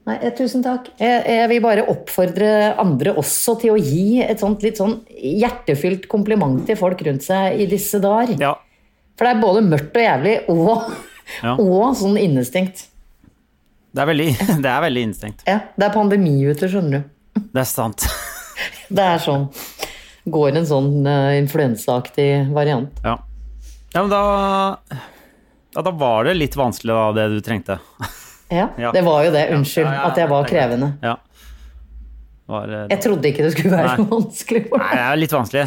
[SPEAKER 1] Nei, eh, tusen takk. Jeg, jeg vil bare oppfordre andre også til å gi et sånt litt sånn hjertefylt kompliment til folk rundt seg i disse dager.
[SPEAKER 2] Ja.
[SPEAKER 1] For det er både mørkt og jævlig, og,
[SPEAKER 2] Ja.
[SPEAKER 1] og sånn innestengt.
[SPEAKER 2] Det er veldig, det er veldig innstengt.
[SPEAKER 1] Ja, det er pandemi ute, skjønner du.
[SPEAKER 2] Det er sant.
[SPEAKER 1] Det er sånn. Går en sånn eh, influensaaktig variant.
[SPEAKER 2] Ja. ja, men da ja, Da var det litt vanskelig, da, det du trengte.
[SPEAKER 1] Ja,
[SPEAKER 2] Ja.
[SPEAKER 1] det var jo det. Unnskyld
[SPEAKER 2] Ja, ja, ja,
[SPEAKER 1] at jeg var
[SPEAKER 2] det er greit.
[SPEAKER 1] krevende.
[SPEAKER 2] Ja. Var, eh,
[SPEAKER 1] Jeg trodde ikke det skulle være
[SPEAKER 2] Nei.
[SPEAKER 1] så vanskelig. For
[SPEAKER 2] Nei,
[SPEAKER 1] deg.
[SPEAKER 2] det er litt vanskelig.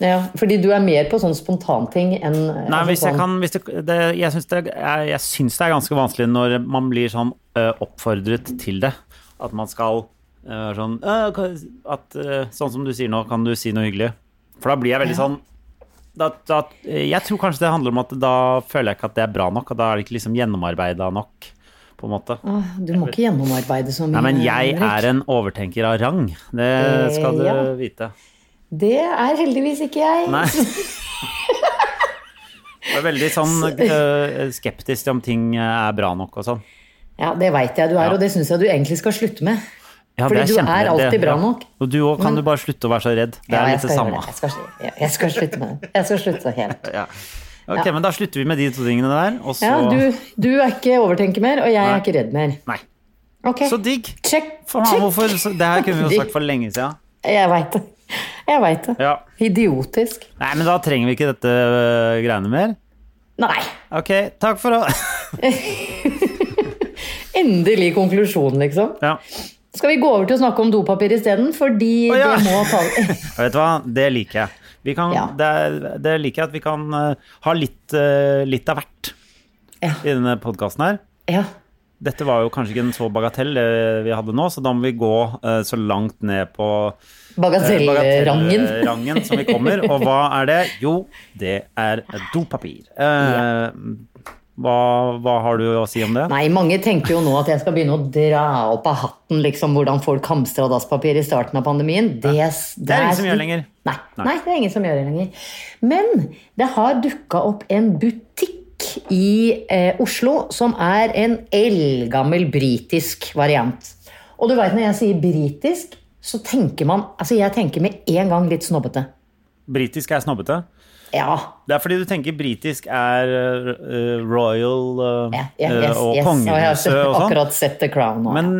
[SPEAKER 1] Ja, fordi du er mer på sånn spontanting enn
[SPEAKER 2] Nei,
[SPEAKER 1] altså
[SPEAKER 2] hvis jeg
[SPEAKER 1] sånn-
[SPEAKER 2] kan hvis det, det, Jeg syns det, er- jeg syns det er ganske vanskelig når man blir sånn ø, oppfordret til det. At man skal ø, sånn ø, hva- at, ø, Sånn som du sier nå, kan du si noe hyggelig? For da blir jeg veldig sånn da, da, Jeg tror kanskje det handler om at da føler jeg ikke at det er bra nok, og da er det ikke liksom gjennomarbeida nok, på en måte.
[SPEAKER 1] Åh, ah, Du må ikke gjennomarbeide så mye.
[SPEAKER 2] Nei, men jeg
[SPEAKER 1] Henrik.
[SPEAKER 2] er en overtenker av rang. Det
[SPEAKER 1] Eh,
[SPEAKER 2] skal du
[SPEAKER 1] ja.
[SPEAKER 2] vite.
[SPEAKER 1] Det er heldigvis ikke jeg.
[SPEAKER 2] Nei. Jeg er veldig sånn eh, skeptisk til om ting er bra nok og sånn.
[SPEAKER 1] Ja, Det veit jeg du er,
[SPEAKER 2] Ja.
[SPEAKER 1] og det syns jeg du egentlig skal slutte med.
[SPEAKER 2] Ja,
[SPEAKER 1] Fordi
[SPEAKER 2] det
[SPEAKER 1] du er
[SPEAKER 2] kjempe- det-
[SPEAKER 1] alltid bra
[SPEAKER 2] ja.
[SPEAKER 1] nok. Mm.
[SPEAKER 2] Og du òg kan du bare slutte å være så redd. Det
[SPEAKER 1] Ja,
[SPEAKER 2] er
[SPEAKER 1] jeg skal
[SPEAKER 2] litt det
[SPEAKER 1] gjøre
[SPEAKER 2] samme.
[SPEAKER 1] det. Jeg skal, slu- ja, jeg skal slutte med det. Jeg skal slutte helt.
[SPEAKER 2] Ja. Ok, men da slutter vi med de to tingene der, og så
[SPEAKER 1] Ja, du, du er ikke overtenker mer, og jeg
[SPEAKER 2] Nei.
[SPEAKER 1] er ikke redd mer.
[SPEAKER 2] Nei.
[SPEAKER 1] Ok,
[SPEAKER 2] Så digg!
[SPEAKER 1] check,
[SPEAKER 2] Faen,
[SPEAKER 1] check.
[SPEAKER 2] hvorfor så- Det her kunne vi jo sagt for lenge siden.
[SPEAKER 1] Jeg veit det. Jeg veit det.
[SPEAKER 2] Ja.
[SPEAKER 1] Idiotisk.
[SPEAKER 2] Nei, men da trenger vi ikke dette øh, greiene mer.
[SPEAKER 1] Nei.
[SPEAKER 2] Ok, takk for å
[SPEAKER 1] Endelig konklusjon, liksom.
[SPEAKER 2] Ja.
[SPEAKER 1] Skal vi gå over til å snakke om dopapir isteden? Fordi
[SPEAKER 2] Å, ja.
[SPEAKER 1] det må ta
[SPEAKER 2] Og Vet du hva, det liker jeg. Vi kan,
[SPEAKER 1] Ja.
[SPEAKER 2] det, er- det liker jeg at vi kan eh, ha litt, eh, litt av hvert
[SPEAKER 1] Ja.
[SPEAKER 2] i denne podkasten her.
[SPEAKER 1] Ja.
[SPEAKER 2] dette var jo kanskje ikke en så bagatell det vi hadde nå, så da må vi gå eh, så langt ned på eh,
[SPEAKER 1] Bagatellrangen.
[SPEAKER 2] bagatellrangen som vi kommer. Og hva er det? Jo, det er dopapir. Eh, hva, hva har du å si om det?
[SPEAKER 1] Nei, mange tenker jo nå at jeg skal begynne å dra opp av hatten liksom, hvordan folk hamstra dasspapir i starten av pandemien. Det,
[SPEAKER 2] Det er ingen som gjør lenger.
[SPEAKER 1] Nei, nei, det er ingen som gjør det lenger. Men det har dukka opp en butikk i eh, Oslo som er en eldgammel britisk variant. Og du veit når jeg sier britisk, så tenker man Altså, jeg tenker med en gang litt snobbete.
[SPEAKER 2] Britisk er snobbete.
[SPEAKER 1] Ja,
[SPEAKER 2] Det er fordi du tenker britisk er eh, royal eh,
[SPEAKER 1] Ja, ja, yes,
[SPEAKER 2] eh,
[SPEAKER 1] yes.
[SPEAKER 2] og
[SPEAKER 1] jeg har
[SPEAKER 2] kongehuset og sånn.
[SPEAKER 1] akkurat sett The Crown nå.
[SPEAKER 2] Men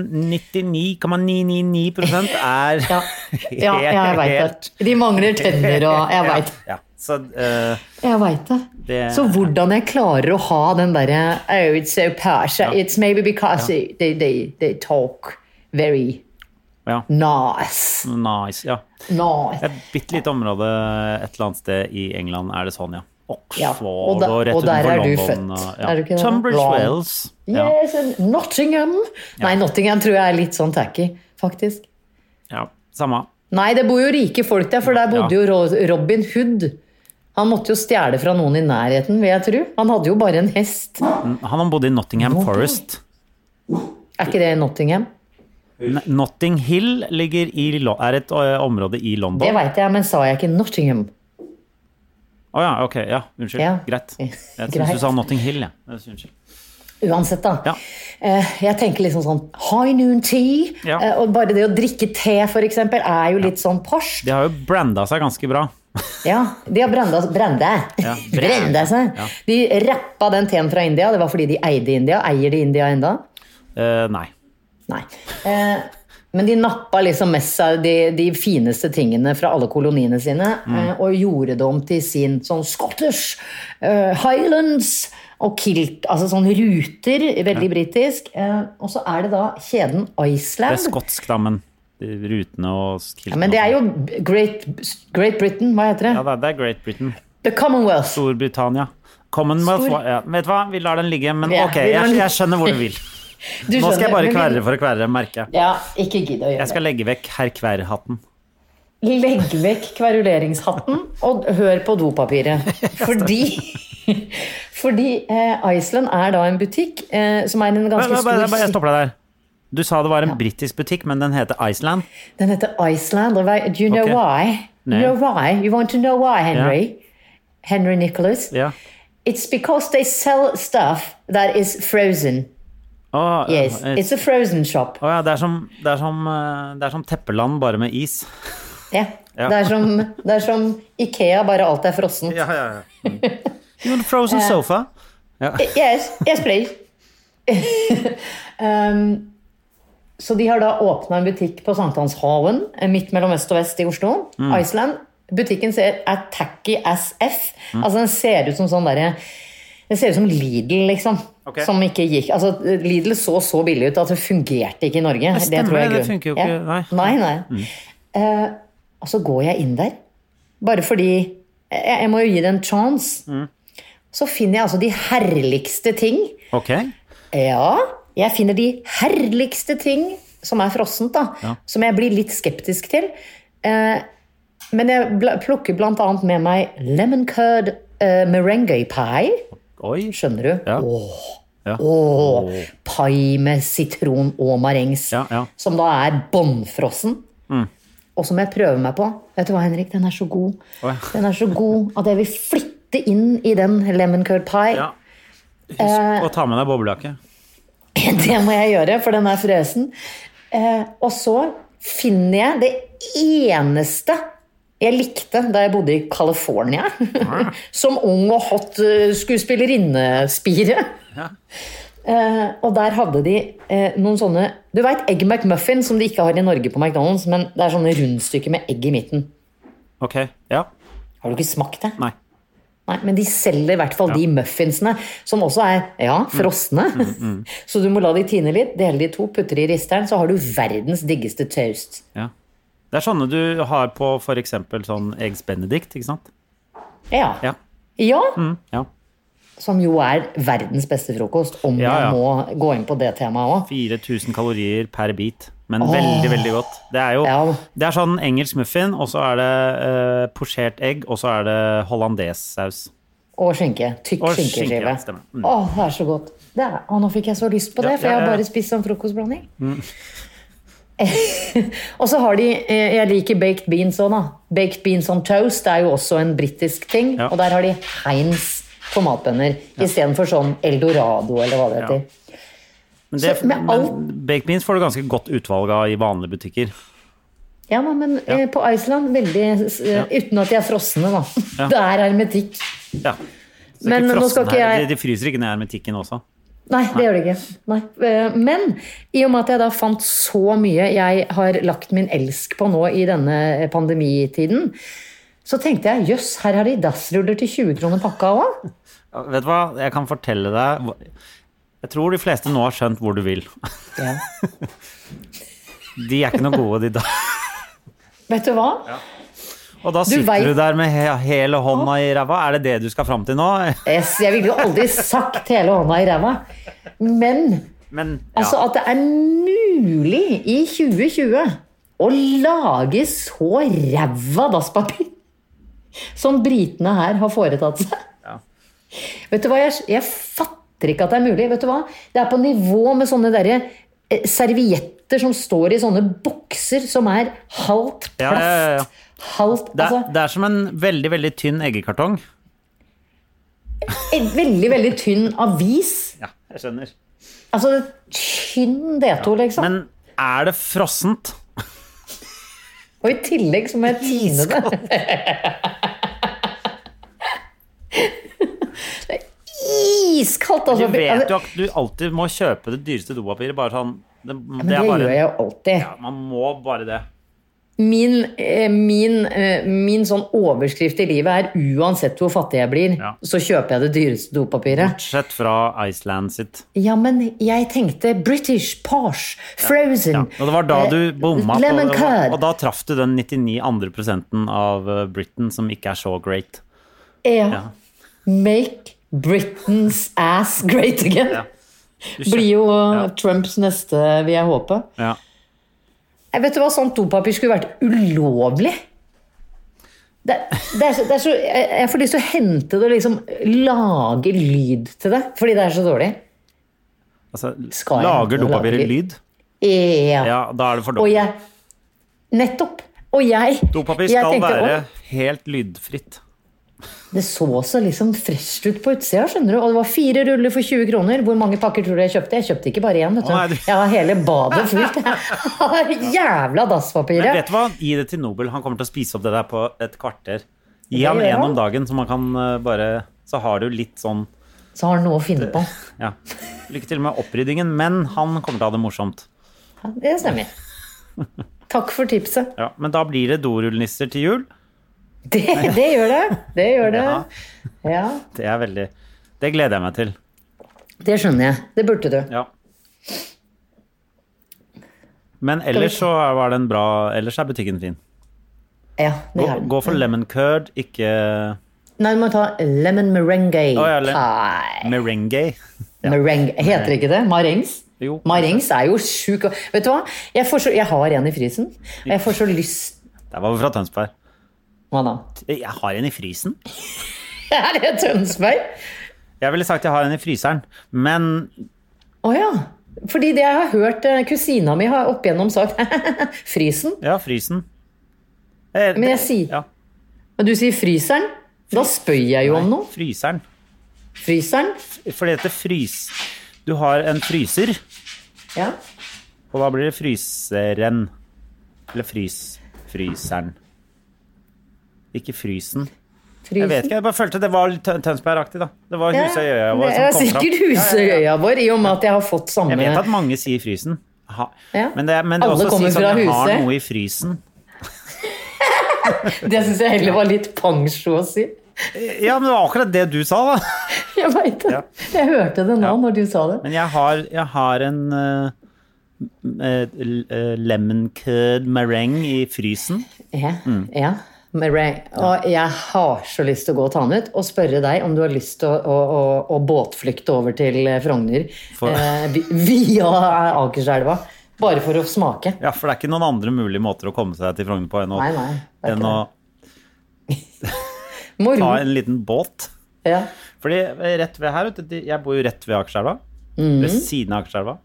[SPEAKER 2] 99,999 er
[SPEAKER 1] ja. ja, ja, jeg veit det. De mangler tenner og Jeg veit
[SPEAKER 2] Ja, så eh,
[SPEAKER 1] jeg vet det.
[SPEAKER 2] Det-
[SPEAKER 1] Så hvordan jeg klarer å ha den derre Oh, it's so posh. It's maybe because they, they, they talk very
[SPEAKER 2] Ja.
[SPEAKER 1] nice.
[SPEAKER 2] Nice. Ja.
[SPEAKER 1] nice.
[SPEAKER 2] Et bitte lite område et eller annet sted i England er det sånn, ja.
[SPEAKER 1] Ja,
[SPEAKER 2] Oxford
[SPEAKER 1] og
[SPEAKER 2] og,
[SPEAKER 1] der-
[SPEAKER 2] rett
[SPEAKER 1] og der
[SPEAKER 2] utenfor
[SPEAKER 1] er du
[SPEAKER 2] London.
[SPEAKER 1] født.
[SPEAKER 2] og- Ja.
[SPEAKER 1] Er du ikke det?
[SPEAKER 2] Tunbridge
[SPEAKER 1] Long.
[SPEAKER 2] Wells. Ja.
[SPEAKER 1] Yes, and Nottingham. Nei, Nottingham tror jeg er litt sånn tacky, faktisk.
[SPEAKER 2] ja, samme.
[SPEAKER 1] Nei, det bor jo rike folk der, for der bodde jo Ro- Robin Hood. Han måtte jo stjele fra noen i nærheten, vil jeg tro. Han hadde jo bare en hest.
[SPEAKER 2] Han har bodd i Nottingham Forest.
[SPEAKER 1] Er ikke det i Nottingham?
[SPEAKER 2] N- Notting Hill ligger i, Lo- er et ø, område i
[SPEAKER 1] Det
[SPEAKER 2] London.
[SPEAKER 1] veit jeg, men sa jeg ikke Nottingham?
[SPEAKER 2] Å ja, ok. Ja, unnskyld.
[SPEAKER 1] Ja.
[SPEAKER 2] Greit. Jeg syns
[SPEAKER 1] Greit.
[SPEAKER 2] du sa Notting Hill, jeg. jeg. synes Unnskyld.
[SPEAKER 1] Uansett, da.
[SPEAKER 2] Ja.
[SPEAKER 1] Eh, Jeg tenker liksom sånn high noon tea.
[SPEAKER 2] Ja.
[SPEAKER 1] eh, Og bare det å drikke te, for eksempel, er jo litt sånn posh.
[SPEAKER 2] De har jo branda seg ganske bra.
[SPEAKER 1] Ja, de har brenda brenda.
[SPEAKER 2] Ja,
[SPEAKER 1] brenda seg.
[SPEAKER 2] Ja.
[SPEAKER 1] De rappa den teen fra India. Det var fordi de eide India. Eier de India enda?
[SPEAKER 2] Eh, nei.
[SPEAKER 1] Nei. Eh, men de nappa liksom med seg de, de fineste tingene fra alle koloniene sine
[SPEAKER 2] Mm.
[SPEAKER 1] eh, og gjorde det om til sin sånn Scottish eh, Highlands og kilt, altså sånn ruter, veldig britisk. Eh, og så er det da kjeden
[SPEAKER 2] Det er
[SPEAKER 1] Iceland.
[SPEAKER 2] skotsk, da, men rutene og kiltene
[SPEAKER 1] ja, men det er jo Great, Great Britain, hva heter det?
[SPEAKER 2] Ja, det er- det er Great Britain.
[SPEAKER 1] The Commonwealth.
[SPEAKER 2] Storbritannia. Commonwealth
[SPEAKER 1] Stor-
[SPEAKER 2] var- ja. Vet du hva, vi lar den ligge, men
[SPEAKER 1] Ja,
[SPEAKER 2] ok,
[SPEAKER 1] vi lar
[SPEAKER 2] jeg,
[SPEAKER 1] den-
[SPEAKER 2] jeg skjønner hvor du vil.
[SPEAKER 1] Du
[SPEAKER 2] Nå skal
[SPEAKER 1] skjønner,
[SPEAKER 2] jeg bare
[SPEAKER 1] men vi-
[SPEAKER 2] kverre for å kverre, merker jeg.
[SPEAKER 1] Ja, ikke gidd å gjøre
[SPEAKER 2] Jeg skal legge vekk herr Kverr-hatten.
[SPEAKER 1] Legg vekk kveruleringshatten og hør på dopapiret. Fordi, fordi eh, Iceland er da en butikk eh, som er en
[SPEAKER 2] Bare-
[SPEAKER 1] ganske
[SPEAKER 2] bare- bare- bare- Jeg
[SPEAKER 1] stor
[SPEAKER 2] stopper deg der. Du sa det var en britisk butikk, men den heter Iceland.
[SPEAKER 1] Den heter Iceland. Og hva- do you know
[SPEAKER 2] Ok.
[SPEAKER 1] why? Do You know why? You want to know why, Henry? Henry Nicholas?
[SPEAKER 2] Ja.
[SPEAKER 1] It's because they sell stuff that is frozen.
[SPEAKER 2] Å,
[SPEAKER 1] Yes,
[SPEAKER 2] eh,
[SPEAKER 1] it's a frozen shop.
[SPEAKER 2] å ja, det er som, det er som, eh, det er som Teppeland, bare med is.
[SPEAKER 1] Ja.
[SPEAKER 2] Ja.
[SPEAKER 1] Det, er som, det er som Ikea, bare alt er frossent.
[SPEAKER 2] Ja, ja, ja. You want a frozen sofa?
[SPEAKER 1] Yes, yes please. um, så de har da åpna en butikk på Sankthanshaven, eh, midt mellom øst og vest i Oslo. Iceland. Butikken ser er tacky as F. Altså den ser ut som sånn derre Den ser ut som Lidl, liksom.
[SPEAKER 2] Ok.
[SPEAKER 1] Som ikke gikk Altså Lidl så så billig ut at det fungerte ikke i Norge. Det,
[SPEAKER 2] stemmer
[SPEAKER 1] tror jeg er
[SPEAKER 2] det, det
[SPEAKER 1] grunnen.
[SPEAKER 2] funker jo ikke, nei.
[SPEAKER 1] Nei, nei. Eh, og så går jeg inn der, bare fordi jeg, jeg må jo gi det en chance.
[SPEAKER 2] Mm.
[SPEAKER 1] Så finner jeg altså de herligste ting.
[SPEAKER 2] Ok.
[SPEAKER 1] Ja, jeg finner de herligste ting som er frossent, da. Som jeg blir litt skeptisk til. Eh, men jeg bl plukker blant annet med meg lemon curd eh, merengue pie.
[SPEAKER 2] Oi.
[SPEAKER 1] Skjønner du?
[SPEAKER 2] Ja.
[SPEAKER 1] Åh,
[SPEAKER 2] Ja.
[SPEAKER 1] åh, pai med sitron og marengs.
[SPEAKER 2] Ja, ja. Mm.
[SPEAKER 1] Som da er bånnfrossen. Og som jeg prøver meg på. Vet du hva, Henrik? Den er så god.
[SPEAKER 2] Oi.
[SPEAKER 1] Den er så god at jeg vil flytte inn i den lemon curd pie.
[SPEAKER 2] Ja.
[SPEAKER 1] Eh.
[SPEAKER 2] Husk å ta med deg boblejakke.
[SPEAKER 1] Det må jeg gjøre, for den er fresen. Eh, og så finner jeg det eneste jeg likte da jeg bodde i California. som ung og hot eh, skuespillerinnespire. Eh, og der hadde de eh, noen sånne Du veit Egg McMuffin, som de ikke har i Norge på McDonald's, men det er sånne rundstykker med egg i midten.
[SPEAKER 2] Ok, ja.
[SPEAKER 1] Har du ikke smakt det?
[SPEAKER 2] Nei.
[SPEAKER 1] Nei, men de selger i hvert fall de muffinsene, som også er ja,
[SPEAKER 2] Mm.
[SPEAKER 1] frosne. så du må la de tine litt, dele de to, putte de i risteren, så har du verdens diggeste toast.
[SPEAKER 2] Ja. Det er sånne du har på f.eks. sånn Eggs Benedict, ikke sant?
[SPEAKER 1] Ja.
[SPEAKER 2] Ja.
[SPEAKER 1] Ja,
[SPEAKER 2] ja.
[SPEAKER 1] Som jo er verdens beste frokost, om
[SPEAKER 2] Ja, ja.
[SPEAKER 1] man må gå inn på det temaet òg.
[SPEAKER 2] 4000 kalorier per bit. Men veldig, veldig godt. Det er jo
[SPEAKER 1] Ja.
[SPEAKER 2] det er sånn engelsk muffin, og så er det eh, posjert egg, og så er det hollandesaus.
[SPEAKER 1] Og skinke. Tykk
[SPEAKER 2] Og skinke,
[SPEAKER 1] skinkeskive.
[SPEAKER 2] ja, stemmer. Mm.
[SPEAKER 1] Å, det er så godt. Det er, å, nå fikk jeg så lyst på det,
[SPEAKER 2] Ja,
[SPEAKER 1] for
[SPEAKER 2] ja,
[SPEAKER 1] jeg har
[SPEAKER 2] ja. Mm.
[SPEAKER 1] bare spist sånn frokostblanding. og så har de eh, Jeg liker baked beans òg, da. Baked beans on toast er jo også en britisk ting.
[SPEAKER 2] Ja.
[SPEAKER 1] Og der har de Heinz tomatbønner istedenfor sånn Eldorado, eller hva det heter.
[SPEAKER 2] Men, det,
[SPEAKER 1] Så med alt-
[SPEAKER 2] men baked beans får du ganske godt utvalg av i vanlige butikker.
[SPEAKER 1] Ja, da, men eh, på Iceland veldig eh, Uten at de er frosne, da. Det er hermetikk.
[SPEAKER 2] Ja. Så det er
[SPEAKER 1] Men
[SPEAKER 2] ikke
[SPEAKER 1] nå skal
[SPEAKER 2] frossen
[SPEAKER 1] ikke
[SPEAKER 2] her.
[SPEAKER 1] jeg-
[SPEAKER 2] De, de fryser ikke ned hermetikken også.
[SPEAKER 1] Nei, det gjør det ikke. Nei. Eh, Men i og med at jeg da fant så mye jeg har lagt min elsk på nå i denne pandemitiden, så tenkte jeg jøss, her har de dassruller til 20 kroner pakka òg.
[SPEAKER 2] Ja, Vet du hva, jeg kan fortelle deg hva- Jeg tror de fleste nå har skjønt hvor du vil.
[SPEAKER 1] Ja.
[SPEAKER 2] De er ikke noe gode, de da.
[SPEAKER 1] Vet du hva?
[SPEAKER 2] Og da sitter du,
[SPEAKER 1] vet-
[SPEAKER 2] der med he hele hånda i ræva. Er det det du skal fram til nå?
[SPEAKER 1] Yes, jeg ville jo aldri sagt hele hånda i ræva. Men
[SPEAKER 2] Men ja.
[SPEAKER 1] altså at det er mulig i 2020 å lage så ræva dasspapir som britene her har foretatt seg.
[SPEAKER 2] Ja.
[SPEAKER 1] Vet du hva, jeg, jeg fatter ikke at det er mulig. Vet du hva? Det er på nivå med sånne derre eh, servietter som står i sånne bokser som er halvt plast.
[SPEAKER 2] Ja, ja, ja, ja.
[SPEAKER 1] Halvt
[SPEAKER 2] det, er,
[SPEAKER 1] altså,
[SPEAKER 2] det er som en veldig, veldig tynn eggekartong.
[SPEAKER 1] en Veldig, veldig tynn avis.
[SPEAKER 2] Ja, jeg skjønner.
[SPEAKER 1] Altså tynn D2, liksom.
[SPEAKER 2] Men er det frossent?
[SPEAKER 1] Og i tillegg så må jeg tine det. Det er Iskaldt,
[SPEAKER 2] Du
[SPEAKER 1] altså.
[SPEAKER 2] vet jo
[SPEAKER 1] Altså,
[SPEAKER 2] at du alltid må kjøpe det dyreste dopapiret. Bare sånn Det,
[SPEAKER 1] Men det,
[SPEAKER 2] det er
[SPEAKER 1] gjør
[SPEAKER 2] bare
[SPEAKER 1] jeg jo alltid.
[SPEAKER 2] ja, Man må bare det.
[SPEAKER 1] Min, eh, min, eh, min sånn overskrift i livet er uansett hvor fattig jeg blir,
[SPEAKER 2] Ja.
[SPEAKER 1] så kjøper jeg det dyreste dopapiret.
[SPEAKER 2] Bortsett fra Iceland sitt.
[SPEAKER 1] Ja, men jeg tenkte British, Posh, Frozen
[SPEAKER 2] Ja. Og det var da
[SPEAKER 1] eh,
[SPEAKER 2] du bomma på
[SPEAKER 1] Lemon curd.
[SPEAKER 2] Og da traff du den 99 andre prosenten av eh, Britain som ikke er så great.
[SPEAKER 1] ja. Make Britain's ass great again.
[SPEAKER 2] Ja. Du
[SPEAKER 1] Blir jo eh,
[SPEAKER 2] Ja.
[SPEAKER 1] Trumps neste, vil jeg håpe.
[SPEAKER 2] Ja.
[SPEAKER 1] Jeg vet du hva, sånt dopapir skulle vært ulovlig. Det, det er så, det er så, jeg, jeg får lyst til å hente det og liksom lage lyd til det, fordi det er så dårlig.
[SPEAKER 2] Altså,
[SPEAKER 1] Skal jeg
[SPEAKER 2] lager
[SPEAKER 1] lage
[SPEAKER 2] dopapiret
[SPEAKER 1] lyd?
[SPEAKER 2] lyd?
[SPEAKER 1] Ja.
[SPEAKER 2] Ja, da er det for
[SPEAKER 1] Og
[SPEAKER 2] dårlig.
[SPEAKER 1] jeg Nettopp. Og jeg
[SPEAKER 2] Dopapir
[SPEAKER 1] jeg
[SPEAKER 2] skal
[SPEAKER 1] tenkte,
[SPEAKER 2] være
[SPEAKER 1] «Å,
[SPEAKER 2] helt lydfritt.
[SPEAKER 1] Det så så liksom fresht ut på utsida, skjønner du. Og det var fire ruller for 20 kroner. Hvor mange pakker tror du jeg kjøpte? Jeg kjøpte ikke bare én, vet du.
[SPEAKER 2] Å, nei, du-
[SPEAKER 1] Jeg har hele badet fullt. Jeg har Jævla
[SPEAKER 2] Men
[SPEAKER 1] dasspapiret.
[SPEAKER 2] vet du hva? Gi det til Nobel. Han kommer til å spise opp det der på et kvarter.
[SPEAKER 1] Det
[SPEAKER 2] Gi ham
[SPEAKER 1] gjør
[SPEAKER 2] en
[SPEAKER 1] han.
[SPEAKER 2] om dagen, så man kan eh, bare Så har du litt sånn
[SPEAKER 1] Så har han noe å finne på.
[SPEAKER 2] Ja. Lykke til med oppryddingen, men han kommer til å ha det morsomt.
[SPEAKER 1] Ja, Det stemmer. Takk for tipset.
[SPEAKER 2] Ja, men da blir det dorullnisser til jul.
[SPEAKER 1] Det, det gjør det. Det gjør det.
[SPEAKER 2] Ja.
[SPEAKER 1] Ja,
[SPEAKER 2] Det er veldig Det gleder jeg meg til.
[SPEAKER 1] det skjønner jeg. Det burde du.
[SPEAKER 2] Ja. Men ellers så er- var den bra. Ellers er butikken fin.
[SPEAKER 1] Ja, det
[SPEAKER 2] Gå,
[SPEAKER 1] er det.
[SPEAKER 2] gå for lemon curd, ikke
[SPEAKER 1] Nei, du må ta lemon merengue.
[SPEAKER 2] Å, ja, le-
[SPEAKER 1] Pie.
[SPEAKER 2] merengue.
[SPEAKER 1] Merengue. Heter ikke det? Marengs?
[SPEAKER 2] Jo.
[SPEAKER 1] Marengs er jo sjuk Vet du hva? Jeg, får så, jeg har en i frysen. Og jeg får så lyst
[SPEAKER 2] Der var vi fra Tønsberg.
[SPEAKER 1] Hva da?
[SPEAKER 2] Jeg har en i frysen.
[SPEAKER 1] Er det Tønsberg?
[SPEAKER 2] Jeg ville sagt jeg har en i fryseren, men
[SPEAKER 1] Å ja. Fordi det jeg har hørt eh, kusina mi har opp igjennom sagt Frysen?
[SPEAKER 2] ja, frysen. Eh,
[SPEAKER 1] Men jeg
[SPEAKER 2] det-
[SPEAKER 1] sier-
[SPEAKER 2] ja,
[SPEAKER 1] Og du sier fryseren? Da spør jeg jo om noe.
[SPEAKER 2] Fryseren.
[SPEAKER 1] Fryseren?
[SPEAKER 2] For det heter frys... Du har en fryser,
[SPEAKER 1] Ja.
[SPEAKER 2] og da blir det fryseren. Eller frys... Fryseren. Ikke frysen.
[SPEAKER 1] Frysen.
[SPEAKER 2] Jeg vet ikke, jeg bare følte det var litt Tø- Tønsberg-aktig, da. Det var sånn
[SPEAKER 1] Ja,
[SPEAKER 2] Husøyøya
[SPEAKER 1] Det
[SPEAKER 2] vår
[SPEAKER 1] er
[SPEAKER 2] som kom fram.
[SPEAKER 1] sikkert Husøya vår, i og med at jeg har fått samme
[SPEAKER 2] Jeg vet at mange sier frysen. Ha.
[SPEAKER 1] Ja.
[SPEAKER 2] Men det, men det
[SPEAKER 1] Alle
[SPEAKER 2] også
[SPEAKER 1] kommer
[SPEAKER 2] sier sånn
[SPEAKER 1] fra
[SPEAKER 2] jeg har
[SPEAKER 1] huset.
[SPEAKER 2] noe i frysen.
[SPEAKER 1] Det syns jeg heller var litt pangsjo å si.
[SPEAKER 2] Ja, men det var akkurat det du sa, da.
[SPEAKER 1] Jeg vet det.
[SPEAKER 2] Ja.
[SPEAKER 1] Jeg hørte det nå når du sa det.
[SPEAKER 2] Men jeg har, jeg har en eh, eh, l- eh, lemon curd meringue i frysen.
[SPEAKER 1] Ja. ja. Murray. Og jeg har så lyst til å gå og ta han ut og spørre deg om du har lyst til å, å, å, å båtflykte over til eh, Frogner
[SPEAKER 2] For-
[SPEAKER 1] eh, vi- via Akerselva. Bare for å smake.
[SPEAKER 2] Ja, for det er ikke noen andre mulige måter å komme seg til Frogner på enn å,
[SPEAKER 1] Nei, nei, det er
[SPEAKER 2] enn å
[SPEAKER 1] ikke
[SPEAKER 2] ta
[SPEAKER 1] Moro.
[SPEAKER 2] en liten båt.
[SPEAKER 1] Ja.
[SPEAKER 2] Fordi eh, rett ved her, vet du, de- jeg bor jo rett ved Akerselva.
[SPEAKER 1] Mhm.
[SPEAKER 2] Ved siden av Akerselva.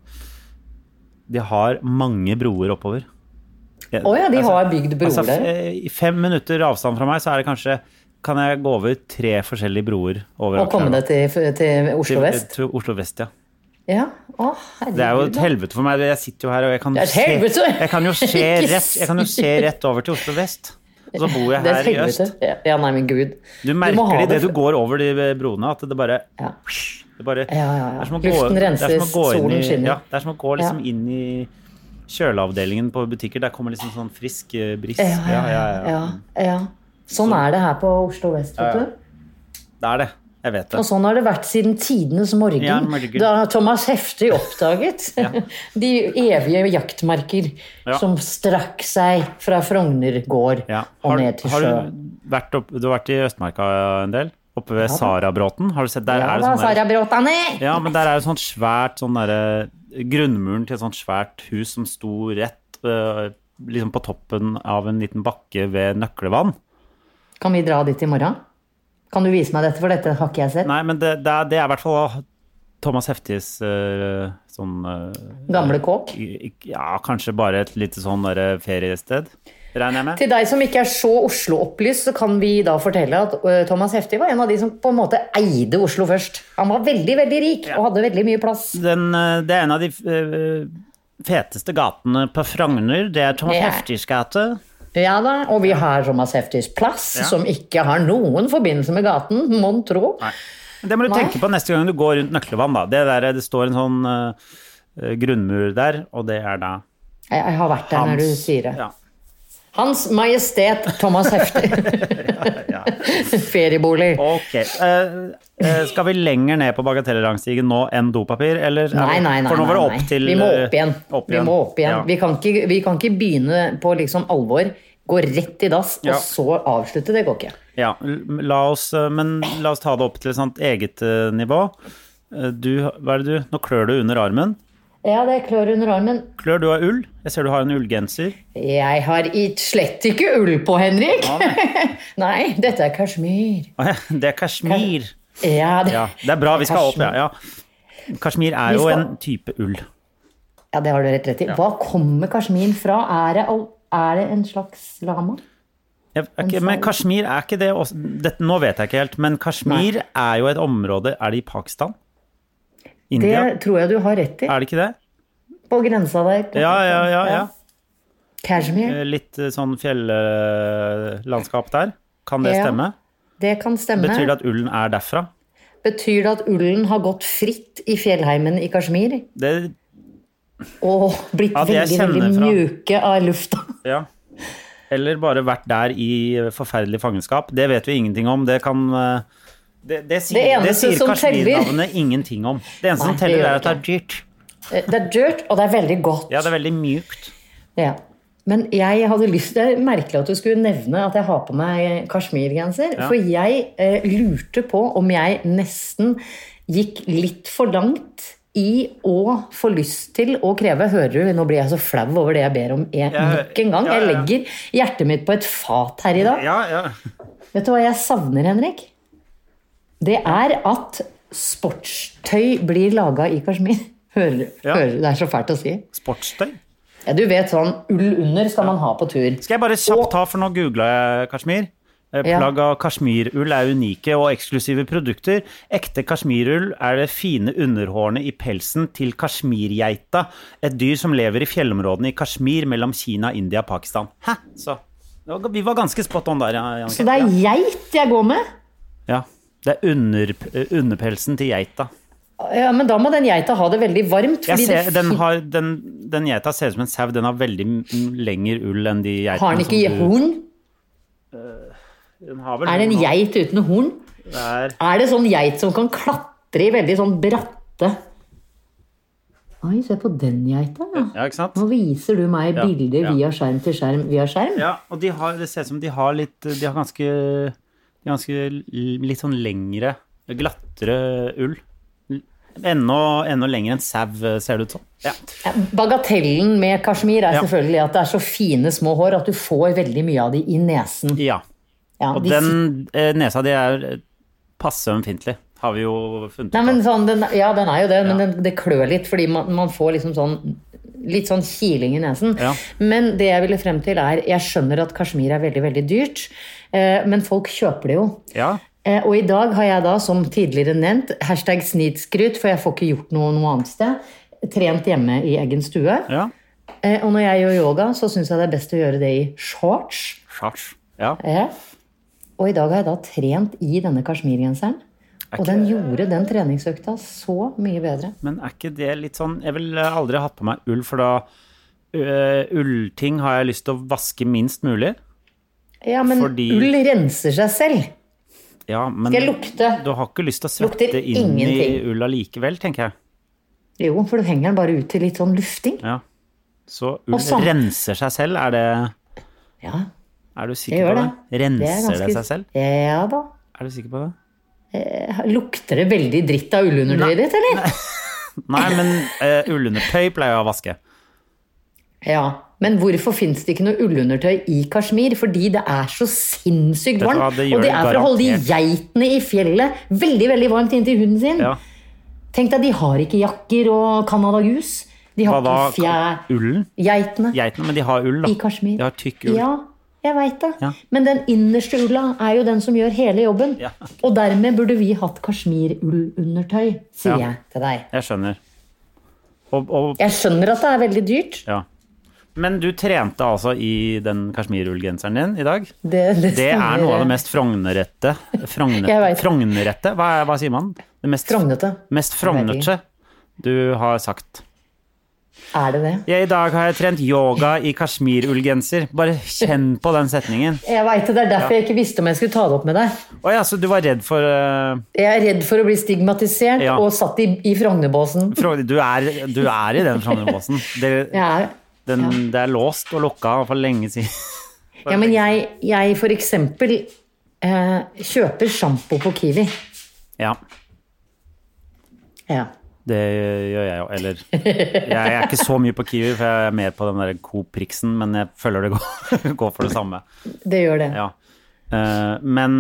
[SPEAKER 2] De har mange broer oppover. Jeg-
[SPEAKER 1] Å ja, de
[SPEAKER 2] altså-
[SPEAKER 1] har bygd broer
[SPEAKER 2] altså, f-
[SPEAKER 1] der.
[SPEAKER 2] eh, I fem minutter avstand fra meg, så er det kanskje Kan jeg gå over tre forskjellige broer over
[SPEAKER 1] Og komme deg til, til Oslo
[SPEAKER 2] Til, eh,
[SPEAKER 1] vest.
[SPEAKER 2] til Oslo Vest, ja.
[SPEAKER 1] Ja. Å, herregud.
[SPEAKER 2] Det er jo et
[SPEAKER 1] da.
[SPEAKER 2] helvete for meg. Jeg sitter jo her, og jeg kan,
[SPEAKER 1] Det er et helvete!
[SPEAKER 2] Se, jeg kan, jo, se
[SPEAKER 1] Ikke
[SPEAKER 2] rett, jeg kan jo se rett over til Oslo Vest. Og så bor jeg
[SPEAKER 1] Det er et
[SPEAKER 2] her i
[SPEAKER 1] helvete.
[SPEAKER 2] øst.
[SPEAKER 1] Ja, Ja, nei, men gud.
[SPEAKER 2] Du merker
[SPEAKER 1] må ha
[SPEAKER 2] det idet du
[SPEAKER 1] for-
[SPEAKER 2] går over de eh, broene, at det bare
[SPEAKER 1] Ja.
[SPEAKER 2] Det bare,
[SPEAKER 1] Ja, ja, ja.
[SPEAKER 2] Det er som å
[SPEAKER 1] Luften
[SPEAKER 2] gå, det er som
[SPEAKER 1] renses,
[SPEAKER 2] å gå inn
[SPEAKER 1] solen
[SPEAKER 2] i,
[SPEAKER 1] skinner.
[SPEAKER 2] Ja, det er som å gå liksom
[SPEAKER 1] Ja.
[SPEAKER 2] inn i kjøleavdelingen på butikker. Der kommer liksom sånn frisk eh, bris.
[SPEAKER 1] Ja, ja, ja. ja, ja. Sånn er det her på Oslo vest, vet
[SPEAKER 2] Ja, ja.
[SPEAKER 1] du.
[SPEAKER 2] Det er det. Jeg vet det.
[SPEAKER 1] Og sånn har det vært siden tidenes morgen,
[SPEAKER 2] Ja, morgen.
[SPEAKER 1] da Thomas Heftig oppdaget de evige jaktmarker
[SPEAKER 2] Ja.
[SPEAKER 1] som strakk seg fra Frogner gård
[SPEAKER 2] Ja.
[SPEAKER 1] og
[SPEAKER 2] Har,
[SPEAKER 1] ned til
[SPEAKER 2] har
[SPEAKER 1] sjø.
[SPEAKER 2] du, vært opp, du har vært i Østmarka en del? Oppe ved Sarabråten? Har du sett der?
[SPEAKER 1] Ja
[SPEAKER 2] er det
[SPEAKER 1] da,
[SPEAKER 2] sånn der-
[SPEAKER 1] Sara Bråtane!
[SPEAKER 2] Ja, men der er jo sånn svært sånn derre Grunnmuren til et sånt svært hus som sto rett eh, liksom på toppen av en liten bakke ved Nøklevann.
[SPEAKER 1] Kan vi dra dit i morgen? Kan du vise meg dette, for dette har ikke jeg sett?
[SPEAKER 2] Nei, men det, det, er, det er i hvert fall Thomas Heftis eh, sånn eh,
[SPEAKER 1] Gamle kåk?
[SPEAKER 2] i- ikk- Ja, kanskje bare et lite sånn derre feriested, regner jeg med.
[SPEAKER 1] Til deg som ikke er så Oslo-opplyst, så kan vi da fortelle at ø, Thomas Heftig var en av de som på en måte eide Oslo først. Han var veldig, veldig rik og hadde veldig mye plass.
[SPEAKER 2] Den, eh, det er en av de eh, feteste gatene på Frogner. Det er Thomas
[SPEAKER 1] Ja.
[SPEAKER 2] Heftis gate.
[SPEAKER 1] Ja da, Og vi har Thomas Heftigs plass,
[SPEAKER 2] Ja.
[SPEAKER 1] som ikke har noen forbindelse med gaten, mon tro.
[SPEAKER 2] Men Det må du
[SPEAKER 1] Nei.
[SPEAKER 2] tenke på neste gang du går rundt Nøklevann, da. Det, der, det står en sånn eh, grunnmur der, og det er da
[SPEAKER 1] Jeg, jeg har vært der
[SPEAKER 2] hans
[SPEAKER 1] når du sier det.
[SPEAKER 2] Ja.
[SPEAKER 1] Hans Majestet Thomas Heftig. Feriebolig.
[SPEAKER 2] Ok. Eh, eh, skal vi lenger ned på bagatellrangstigen nå enn dopapir, eller? er
[SPEAKER 1] Nei,
[SPEAKER 2] vi-
[SPEAKER 1] nei, nei.
[SPEAKER 2] For nå var det
[SPEAKER 1] nei,
[SPEAKER 2] opp
[SPEAKER 1] nei.
[SPEAKER 2] til
[SPEAKER 1] Vi må
[SPEAKER 2] eh,
[SPEAKER 1] opp igjen. Vi, må opp igjen.
[SPEAKER 2] Ja.
[SPEAKER 1] Vi, kan ikke, vi kan ikke begynne på liksom alvor, gå rett i dass,
[SPEAKER 2] Ja.
[SPEAKER 1] og så avslutte. Det går ikke.
[SPEAKER 2] Ja, l- la oss, eh, men la oss ta det opp til et sånt eget eh, nivå. Eh, Du, hva er det du Nå klør du under armen.
[SPEAKER 1] Ja, det klør under armen.
[SPEAKER 2] Klør du av ull? Jeg ser du har en ullgenser.
[SPEAKER 1] Jeg har i- slett ikke ull på, Henrik. Nei, dette er kasjmir.
[SPEAKER 2] Å ja, Det er kasjmir.
[SPEAKER 1] Ja, det,
[SPEAKER 2] Ja, det er bra. Vi skal opp, ja.
[SPEAKER 1] Kasjmir.
[SPEAKER 2] ja. Kasjmir er
[SPEAKER 1] Vi
[SPEAKER 2] jo
[SPEAKER 1] skal-
[SPEAKER 2] en type ull.
[SPEAKER 1] ja, det har du rett rett i. Hva kommer kasjmir fra? Er det, all- er det en slags lama?
[SPEAKER 2] Jeg, er ikke, men Kashmir er ikke det også, dette, Nå vet jeg ikke helt, men Kashmir er jo et område Er det i Pakistan?
[SPEAKER 1] Det
[SPEAKER 2] India?
[SPEAKER 1] tror jeg du har rett i.
[SPEAKER 2] Er det ikke det?
[SPEAKER 1] På grensa der.
[SPEAKER 2] Ja, ja, ja. ja.
[SPEAKER 1] Kashmir.
[SPEAKER 2] Eh, Litt eh, sånn fjellandskap der. Kan det
[SPEAKER 1] Ja.
[SPEAKER 2] stemme?
[SPEAKER 1] Det kan stemme.
[SPEAKER 2] Betyr det at ullen er derfra?
[SPEAKER 1] Betyr det at ullen har gått fritt i fjellheimen i Kashmir
[SPEAKER 2] Det,
[SPEAKER 1] og blitt
[SPEAKER 2] Ja, det
[SPEAKER 1] veldig,
[SPEAKER 2] jeg kjenner
[SPEAKER 1] veldig
[SPEAKER 2] fra-
[SPEAKER 1] mjuke av lufta?
[SPEAKER 2] ja. Eller bare vært der i eh, forferdelig fangenskap. Det vet vi ingenting om. Det kan eh, Det, det
[SPEAKER 1] Det
[SPEAKER 2] sier, det
[SPEAKER 1] eneste
[SPEAKER 2] sier
[SPEAKER 1] som teller-
[SPEAKER 2] Kashmir-navnet ingenting om. Det
[SPEAKER 1] Nei,
[SPEAKER 2] eneste som
[SPEAKER 1] det
[SPEAKER 2] teller,
[SPEAKER 1] gjør
[SPEAKER 2] er at det er
[SPEAKER 1] det
[SPEAKER 2] dyrt.
[SPEAKER 1] Eh, Det er dirt, og det er veldig godt.
[SPEAKER 2] Ja, det er veldig mjukt.
[SPEAKER 1] Ja. Men jeg hadde lyst, det er merkelig at du skulle nevne at jeg har på meg kasjmirgenser.
[SPEAKER 2] Ja.
[SPEAKER 1] For jeg eh, lurte på om jeg nesten gikk litt for langt i å få lyst til å kreve Hører du, nå blir jeg så flau over det jeg ber om jeg,
[SPEAKER 2] hører-
[SPEAKER 1] nok en gang.
[SPEAKER 2] ja, ja,
[SPEAKER 1] Jeg
[SPEAKER 2] ja.
[SPEAKER 1] legger hjertet mitt på et fat her i dag.
[SPEAKER 2] Ja, ja.
[SPEAKER 1] Vet du hva jeg savner, Henrik? Det er at sportstøy blir laga i kasjmir. Hører,
[SPEAKER 2] Ja.
[SPEAKER 1] hører, det er så fælt å si.
[SPEAKER 2] Sportstøy.
[SPEAKER 1] Ja, du vet sånn ull under skal man ha på tur.
[SPEAKER 2] Skal jeg bare kjapt ta, for nå googla jeg kasjmir. Eh,
[SPEAKER 1] Ja.
[SPEAKER 2] Plagg av kasjmirull er unike og eksklusive produkter. Ekte kasjmirull er det fine underhårene i pelsen til kasjmirgeita, et dyr som lever i fjellområdene i Kashmir mellom Kina, India og Pakistan. Hæ? Så det var- vi var ganske spot on der, ja,
[SPEAKER 1] Så
[SPEAKER 2] Jannicke.
[SPEAKER 1] det er geit jeg går med?
[SPEAKER 2] ja. Det er under, eh, underpelsen til geita.
[SPEAKER 1] Ja, men da må den geita ha det veldig varmt.
[SPEAKER 2] Jeg
[SPEAKER 1] fordi
[SPEAKER 2] ser,
[SPEAKER 1] det
[SPEAKER 2] den,
[SPEAKER 1] fin-
[SPEAKER 2] har, den, den geita ser ut som en sau. Den har veldig m- lengre ull enn de geitene.
[SPEAKER 1] har den ikke
[SPEAKER 2] som Sånn, du-
[SPEAKER 1] horn?
[SPEAKER 2] Den har vel
[SPEAKER 1] Er det en
[SPEAKER 2] horn nå.
[SPEAKER 1] geit uten horn?
[SPEAKER 2] Det er-
[SPEAKER 1] Er det sånn geit som kan klatre i veldig sånn bratte Oi, se på den geita, ja.
[SPEAKER 2] Ja, ikke sant?
[SPEAKER 1] Nå viser du meg
[SPEAKER 2] Ja,
[SPEAKER 1] bilder
[SPEAKER 2] ja.
[SPEAKER 1] via skjerm til skjerm via skjerm.
[SPEAKER 2] Ja, og de har, det ser ut som de har litt De har ganske, de har ganske l- litt sånn lengre, glattere ull. Enda, enda lenger enn sau, ser det ut som. Ja.
[SPEAKER 1] Bagatellen med kasjmir er
[SPEAKER 2] Ja.
[SPEAKER 1] selvfølgelig at det er så fine små hår at du får veldig mye av de i nesen.
[SPEAKER 2] ja.
[SPEAKER 1] Ja,
[SPEAKER 2] Og
[SPEAKER 1] de
[SPEAKER 2] den eh, nesa di er eh, passe ømfintlig, har vi jo funnet
[SPEAKER 1] Nei,
[SPEAKER 2] ut
[SPEAKER 1] men
[SPEAKER 2] av.
[SPEAKER 1] sånn, den, ja, den er jo det, men
[SPEAKER 2] Ja.
[SPEAKER 1] den, det klør litt, fordi man, man får liksom sånn Litt sånn kiling i nesen.
[SPEAKER 2] Ja.
[SPEAKER 1] Men det jeg ville frem til er Jeg skjønner at kasjmir er veldig, veldig dyrt, eh, men folk kjøper det jo.
[SPEAKER 2] Ja.
[SPEAKER 1] Eh, og i dag har jeg da, som tidligere nevnt, hashtag snidskryt, for jeg får ikke gjort noe noe annet sted, trent hjemme i egen stue.
[SPEAKER 2] ja.
[SPEAKER 1] Eh, og når jeg gjør yoga, så syns jeg det er best å gjøre det i shorts.
[SPEAKER 2] Charge. Ja.
[SPEAKER 1] Ja. Og i dag har jeg da trent i denne kasjmirgenseren.
[SPEAKER 2] Er
[SPEAKER 1] Og
[SPEAKER 2] ikke-
[SPEAKER 1] den gjorde den treningsøkta så mye bedre.
[SPEAKER 2] Men er ikke det litt sånn Jeg vil eh, aldri ha hatt på meg ull, for da eh, Ullting har jeg lyst til å vaske minst mulig.
[SPEAKER 1] Ja, men
[SPEAKER 2] Fordi-
[SPEAKER 1] ull renser seg selv.
[SPEAKER 2] Ja, men
[SPEAKER 1] Skal jeg lukte?
[SPEAKER 2] du har ikke lyst til å
[SPEAKER 1] Lukter
[SPEAKER 2] svette inn i
[SPEAKER 1] ingenting.
[SPEAKER 2] ulla likevel, tenker jeg.
[SPEAKER 1] Jo, for du henger den bare ut til litt sånn lufting.
[SPEAKER 2] Ja. Så ull
[SPEAKER 1] Og sånn.
[SPEAKER 2] renser seg selv, er det
[SPEAKER 1] Ja,
[SPEAKER 2] Er du
[SPEAKER 1] det
[SPEAKER 2] sikker
[SPEAKER 1] gjør
[SPEAKER 2] på
[SPEAKER 1] det.
[SPEAKER 2] det? Renser det,
[SPEAKER 1] er ganske-
[SPEAKER 2] seg selv?
[SPEAKER 1] Ja da.
[SPEAKER 2] Er du sikker på det?
[SPEAKER 1] Lukter det veldig dritt av ullundertøyet ditt, eller?
[SPEAKER 2] Nei, men eh, ullundertøy pleier jeg å vaske.
[SPEAKER 1] Ja. Men hvorfor fins det ikke noe ullundertøy i kasjmir? Fordi det er så sinnssykt
[SPEAKER 2] Vet du
[SPEAKER 1] varmt.
[SPEAKER 2] hva, det gjør
[SPEAKER 1] Og det
[SPEAKER 2] det
[SPEAKER 1] er for å holde de
[SPEAKER 2] garantert.
[SPEAKER 1] geitene i fjellet veldig, veldig varmt inntil hunden sin.
[SPEAKER 2] Ja.
[SPEAKER 1] Tenk deg, de har ikke jakker og Canada-gus. De
[SPEAKER 2] Hva
[SPEAKER 1] har
[SPEAKER 2] da?
[SPEAKER 1] ikke fjær...
[SPEAKER 2] Ullen?
[SPEAKER 1] Geitene
[SPEAKER 2] Geitene, men de har ull, da.
[SPEAKER 1] i kasjmir.
[SPEAKER 2] De har tykk ull.
[SPEAKER 1] Ja, jeg veit det.
[SPEAKER 2] Ja.
[SPEAKER 1] Men den innerste ulla er jo den som gjør hele jobben.
[SPEAKER 2] Ja.
[SPEAKER 1] Og dermed burde vi hatt kasjmirullundertøy, sier
[SPEAKER 2] Ja.
[SPEAKER 1] jeg til deg.
[SPEAKER 2] Jeg skjønner. Og, og
[SPEAKER 1] Jeg skjønner at det er veldig dyrt.
[SPEAKER 2] ja. Men du trente altså i den kasjmirullgenseren din i dag?
[SPEAKER 1] Det,
[SPEAKER 2] Det er noe av det
[SPEAKER 1] stemmer.
[SPEAKER 2] mest frognerette Frogne,
[SPEAKER 1] Jeg vet.
[SPEAKER 2] Frognerette? Hva, er- hva sier man? Det mest,
[SPEAKER 1] Frognete.
[SPEAKER 2] mest frognerte du har sagt.
[SPEAKER 1] Er det det?
[SPEAKER 2] Ja, I dag har jeg trent yoga i kasjmirullgenser. Bare kjenn på den setningen.
[SPEAKER 1] Jeg vet det, det er derfor jeg ikke visste om jeg skulle ta det opp med deg.
[SPEAKER 2] Å ja, så du var redd for eh,
[SPEAKER 1] Jeg er redd for å bli stigmatisert
[SPEAKER 2] Ja.
[SPEAKER 1] og satt i, i frognebåsen.
[SPEAKER 2] Frog- du, er, du er i den frognerbåsen. Det,
[SPEAKER 1] Jeg er
[SPEAKER 2] den, det er låst og lukka for lenge siden.
[SPEAKER 1] Ja, men jeg, jeg for eksempel eh, kjøper sjampo på Kiwi.
[SPEAKER 2] Ja,
[SPEAKER 1] Ja.
[SPEAKER 2] det gjør jeg jo. Eller Jeg er ikke så mye på Kiwi, for jeg er mer på den der Coop Prixen, men jeg føler det går, går for det samme.
[SPEAKER 1] Det gjør det.
[SPEAKER 2] Ja. Eh, men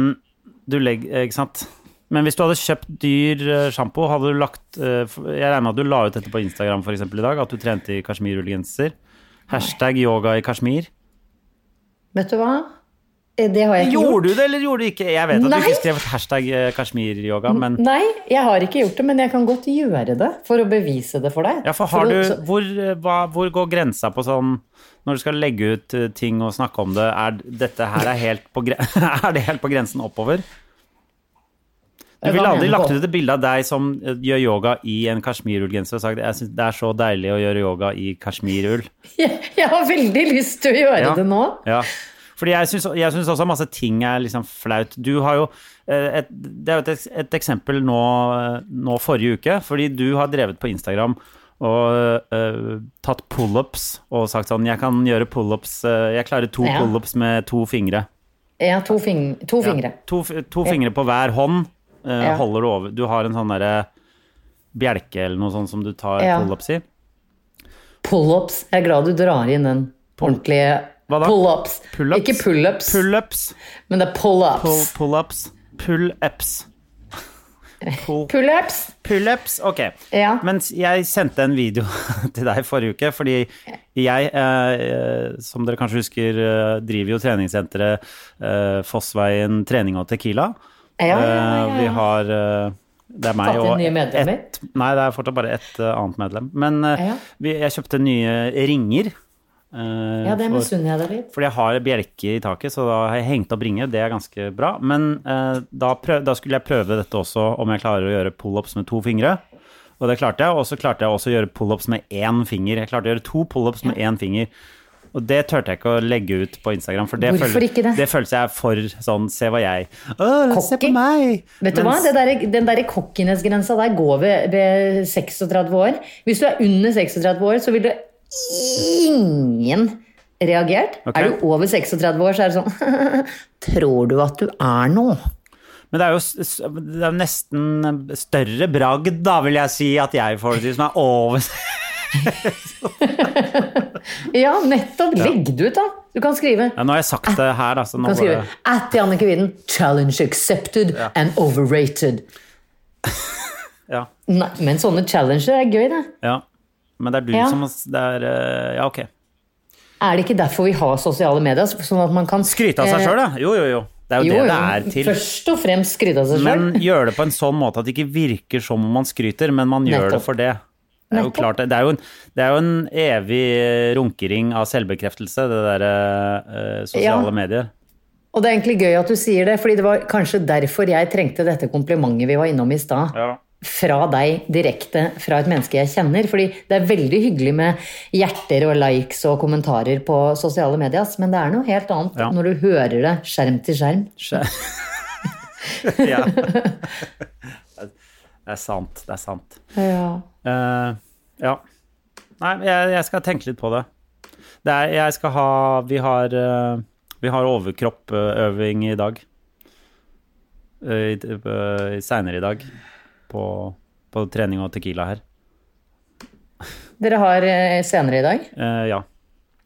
[SPEAKER 2] du legger Ikke sant? Men hvis du hadde kjøpt dyr eh, sjampo, hadde du lagt eh, f- Jeg regner med at du la ut dette på Instagram for eksempel, i dag, at du trente i kasjmirullegenser. Hashtag yoga i kasjmir.
[SPEAKER 1] Vet du hva? Eh, Det har jeg ikke gjort.
[SPEAKER 2] Gjorde du det, eller gjorde du ikke? Jeg vet at
[SPEAKER 1] Nei.
[SPEAKER 2] du ikke skrev et hashtag eh, kasjmiryoga, men
[SPEAKER 1] Nei, jeg har ikke gjort det, men jeg kan godt gjøre det for å bevise det for deg.
[SPEAKER 2] ja, for har
[SPEAKER 1] å-
[SPEAKER 2] du,
[SPEAKER 1] så-
[SPEAKER 2] hvor, eh, hva, hvor går grensa på sånn Når du skal legge ut eh, ting og snakke om det, er dette her er helt på, gre er det helt på grensen oppover? Du
[SPEAKER 1] Hva
[SPEAKER 2] ville
[SPEAKER 1] mener
[SPEAKER 2] aldri
[SPEAKER 1] du
[SPEAKER 2] lagt
[SPEAKER 1] på-
[SPEAKER 2] ut et bilde av deg som eh, gjør yoga i en kasjmirullgenser og sagt jeg synes det er så deilig å gjøre yoga i kasjmirull.
[SPEAKER 1] Jeg, jeg har veldig lyst til å gjøre
[SPEAKER 2] Ja.
[SPEAKER 1] det nå.
[SPEAKER 2] Ja. Fordi jeg syns, jeg syns også masse ting er liksom flaut. Du har jo eh, et, Det er jo et, eks- et eksempel nå, eh, nå forrige uke, fordi du har drevet på Instagram og eh, tatt pullups og sagt sånn Jeg kan gjøre pullups eh, Jeg klarer to
[SPEAKER 1] Ja.
[SPEAKER 2] pullups med to fingre.
[SPEAKER 1] Jeg har to, fing to fingre.
[SPEAKER 2] Ja. To, f- to fingre på hver hånd eh,
[SPEAKER 1] Ja.
[SPEAKER 2] holder du over. Du har en sånn derre bjelke eller noe sånt som du tar
[SPEAKER 1] Ja.
[SPEAKER 2] pullups i.
[SPEAKER 1] Pullups. Jeg er glad du drar inn den ordentlige
[SPEAKER 2] Hva da?
[SPEAKER 1] Pullups.
[SPEAKER 2] Pull-ups?
[SPEAKER 1] Ikke pullups,
[SPEAKER 2] Pullups.
[SPEAKER 1] men det er pullups.
[SPEAKER 2] Pull- Pullups. Pullups. Pull-
[SPEAKER 1] Pullups.
[SPEAKER 2] Pullups, ok.
[SPEAKER 1] Ja.
[SPEAKER 2] Mens jeg sendte en video til deg forrige uke, fordi jeg, eh, som dere kanskje husker, eh, driver jo treningssenteret eh, Fossveien trening og tequila.
[SPEAKER 1] Ja, ja, ja,
[SPEAKER 2] Eh, Vi har eh, Det er meg
[SPEAKER 1] Tatt inn
[SPEAKER 2] og
[SPEAKER 1] nye medlemmer?
[SPEAKER 2] ett Nei, det er fortsatt bare ett eh, annet medlem. Men eh,
[SPEAKER 1] Ja, ja.
[SPEAKER 2] vi, jeg kjøpte nye ringer. eh,
[SPEAKER 1] ja, det
[SPEAKER 2] for-
[SPEAKER 1] misunner jeg deg litt.
[SPEAKER 2] fordi jeg har bjelker i taket, så da har jeg hengt opp ringer. Det er ganske bra. Men eh, da, prøv, da skulle jeg prøve dette også, om jeg klarer å gjøre pullups med to fingre. Og det klarte jeg. Og så klarte jeg også å gjøre pullups med én finger. Jeg klarte å gjøre to pullups med én finger. Og det turte jeg ikke å legge ut på Instagram. For det
[SPEAKER 1] Hvorfor
[SPEAKER 2] følte-
[SPEAKER 1] ikke det?
[SPEAKER 2] Det følte jeg for sånn Se hva jeg Å, se
[SPEAKER 1] Cocky.
[SPEAKER 2] på meg!
[SPEAKER 1] Vet du hva?
[SPEAKER 2] Mens-
[SPEAKER 1] Det der, den der kokkiness-grensa der går ved, ved 36 år. Hvis du er under 36 år, så ville ingen reagert.
[SPEAKER 2] Ok.
[SPEAKER 1] Er du over 36 år, så er det sånn Tror du at du er noe?
[SPEAKER 2] Men det er jo s- s- det er nesten eh, større bragd, da, vil jeg si, at jeg får det til som er over
[SPEAKER 1] Ja, nettopp. Legg det ut, da. Du kan skrive.
[SPEAKER 2] ja, Nå har jeg sagt det her, da, så
[SPEAKER 1] Du
[SPEAKER 2] nå
[SPEAKER 1] kan skrive
[SPEAKER 2] bare
[SPEAKER 1] At Jannicke Widen, challenge accepted and overrated.
[SPEAKER 2] ja,
[SPEAKER 1] Nei, men sånne challenger er gøy, det.
[SPEAKER 2] ja. Men det er du
[SPEAKER 1] Ja.
[SPEAKER 2] som det er, eh, Ja, ok.
[SPEAKER 1] Er det ikke derfor vi har sosiale medier? Sånn at man kan
[SPEAKER 2] Skryte av seg
[SPEAKER 1] eh,
[SPEAKER 2] sjøl, da. Jo, jo, jo. Det er jo,
[SPEAKER 1] jo, jo,
[SPEAKER 2] det det er til.
[SPEAKER 1] Først og fremst skryte av seg sjøl.
[SPEAKER 2] Men gjør det på en sånn måte at det ikke virker som om man skryter, men man gjør det
[SPEAKER 1] Nettopp.
[SPEAKER 2] for det. Det er jo
[SPEAKER 1] Nettopp.
[SPEAKER 2] klart, det- det er jo en, det er jo en evig runkering av selvbekreftelse, det derre eh, sosiale
[SPEAKER 1] Ja.
[SPEAKER 2] medier.
[SPEAKER 1] Og det er egentlig gøy at du sier det, fordi det var kanskje derfor jeg trengte dette komplimentet vi var innom i stad.
[SPEAKER 2] Ja.
[SPEAKER 1] Fra deg direkte, fra et menneske jeg kjenner. Fordi det er veldig hyggelig med hjerter og likes og kommentarer på sosiale medier, ass, men det er noe helt annet
[SPEAKER 2] Ja.
[SPEAKER 1] når du hører det skjerm til skjerm.
[SPEAKER 2] ja. Det er sant, det er sant. Eh, ja. Nei, jeg, jeg skal tenke litt på det. det er, jeg skal ha Vi har, eh, vi har overkroppøving i dag. Uh, Seinere i dag. På, på trening og tequila her.
[SPEAKER 1] Dere har eh, senere i dag?
[SPEAKER 2] Eh, ja.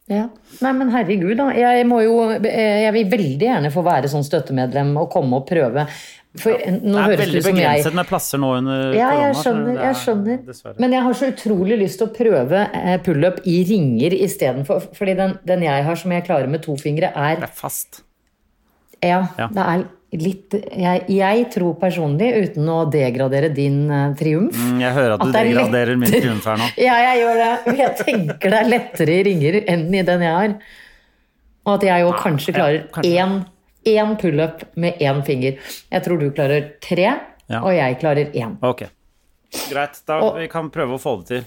[SPEAKER 1] Ja. Nei, men herregud, da. Jeg, må jo, eh, jeg vil veldig gjerne få være sånn støttemedlem og komme og prøve. For eh, nå
[SPEAKER 2] Det er
[SPEAKER 1] høres
[SPEAKER 2] veldig
[SPEAKER 1] det ut som jeg
[SPEAKER 2] begrenset med plasser nå under
[SPEAKER 1] Ja, jeg
[SPEAKER 2] korona, så
[SPEAKER 1] skjønner.
[SPEAKER 2] det er-
[SPEAKER 1] jeg skjønner.
[SPEAKER 2] Dessverre.
[SPEAKER 1] Men jeg har så utrolig lyst til å prøve eh, pullup i ringer istedenfor. Fordi den, den jeg har som jeg klarer med to fingre, er
[SPEAKER 2] det er fast.
[SPEAKER 1] Ja,
[SPEAKER 2] Ja.
[SPEAKER 1] det er litt jeg, jeg tror personlig, uten å degradere din eh, triumf
[SPEAKER 2] Mm, Jeg hører at du
[SPEAKER 1] At det er
[SPEAKER 2] degraderer min
[SPEAKER 1] lettere.
[SPEAKER 2] triumf her nå.
[SPEAKER 1] Ja, jeg gjør det. Men jeg tenker det er lettere i ringer enn i den jeg har. Og at jeg jo kanskje klarer
[SPEAKER 2] kanskje.
[SPEAKER 1] én, én pullup med én finger. Jeg tror du klarer tre,
[SPEAKER 2] Ja.
[SPEAKER 1] og jeg klarer én.
[SPEAKER 2] Ok. Greit, da
[SPEAKER 1] Og-
[SPEAKER 2] vi kan prøve å få det til.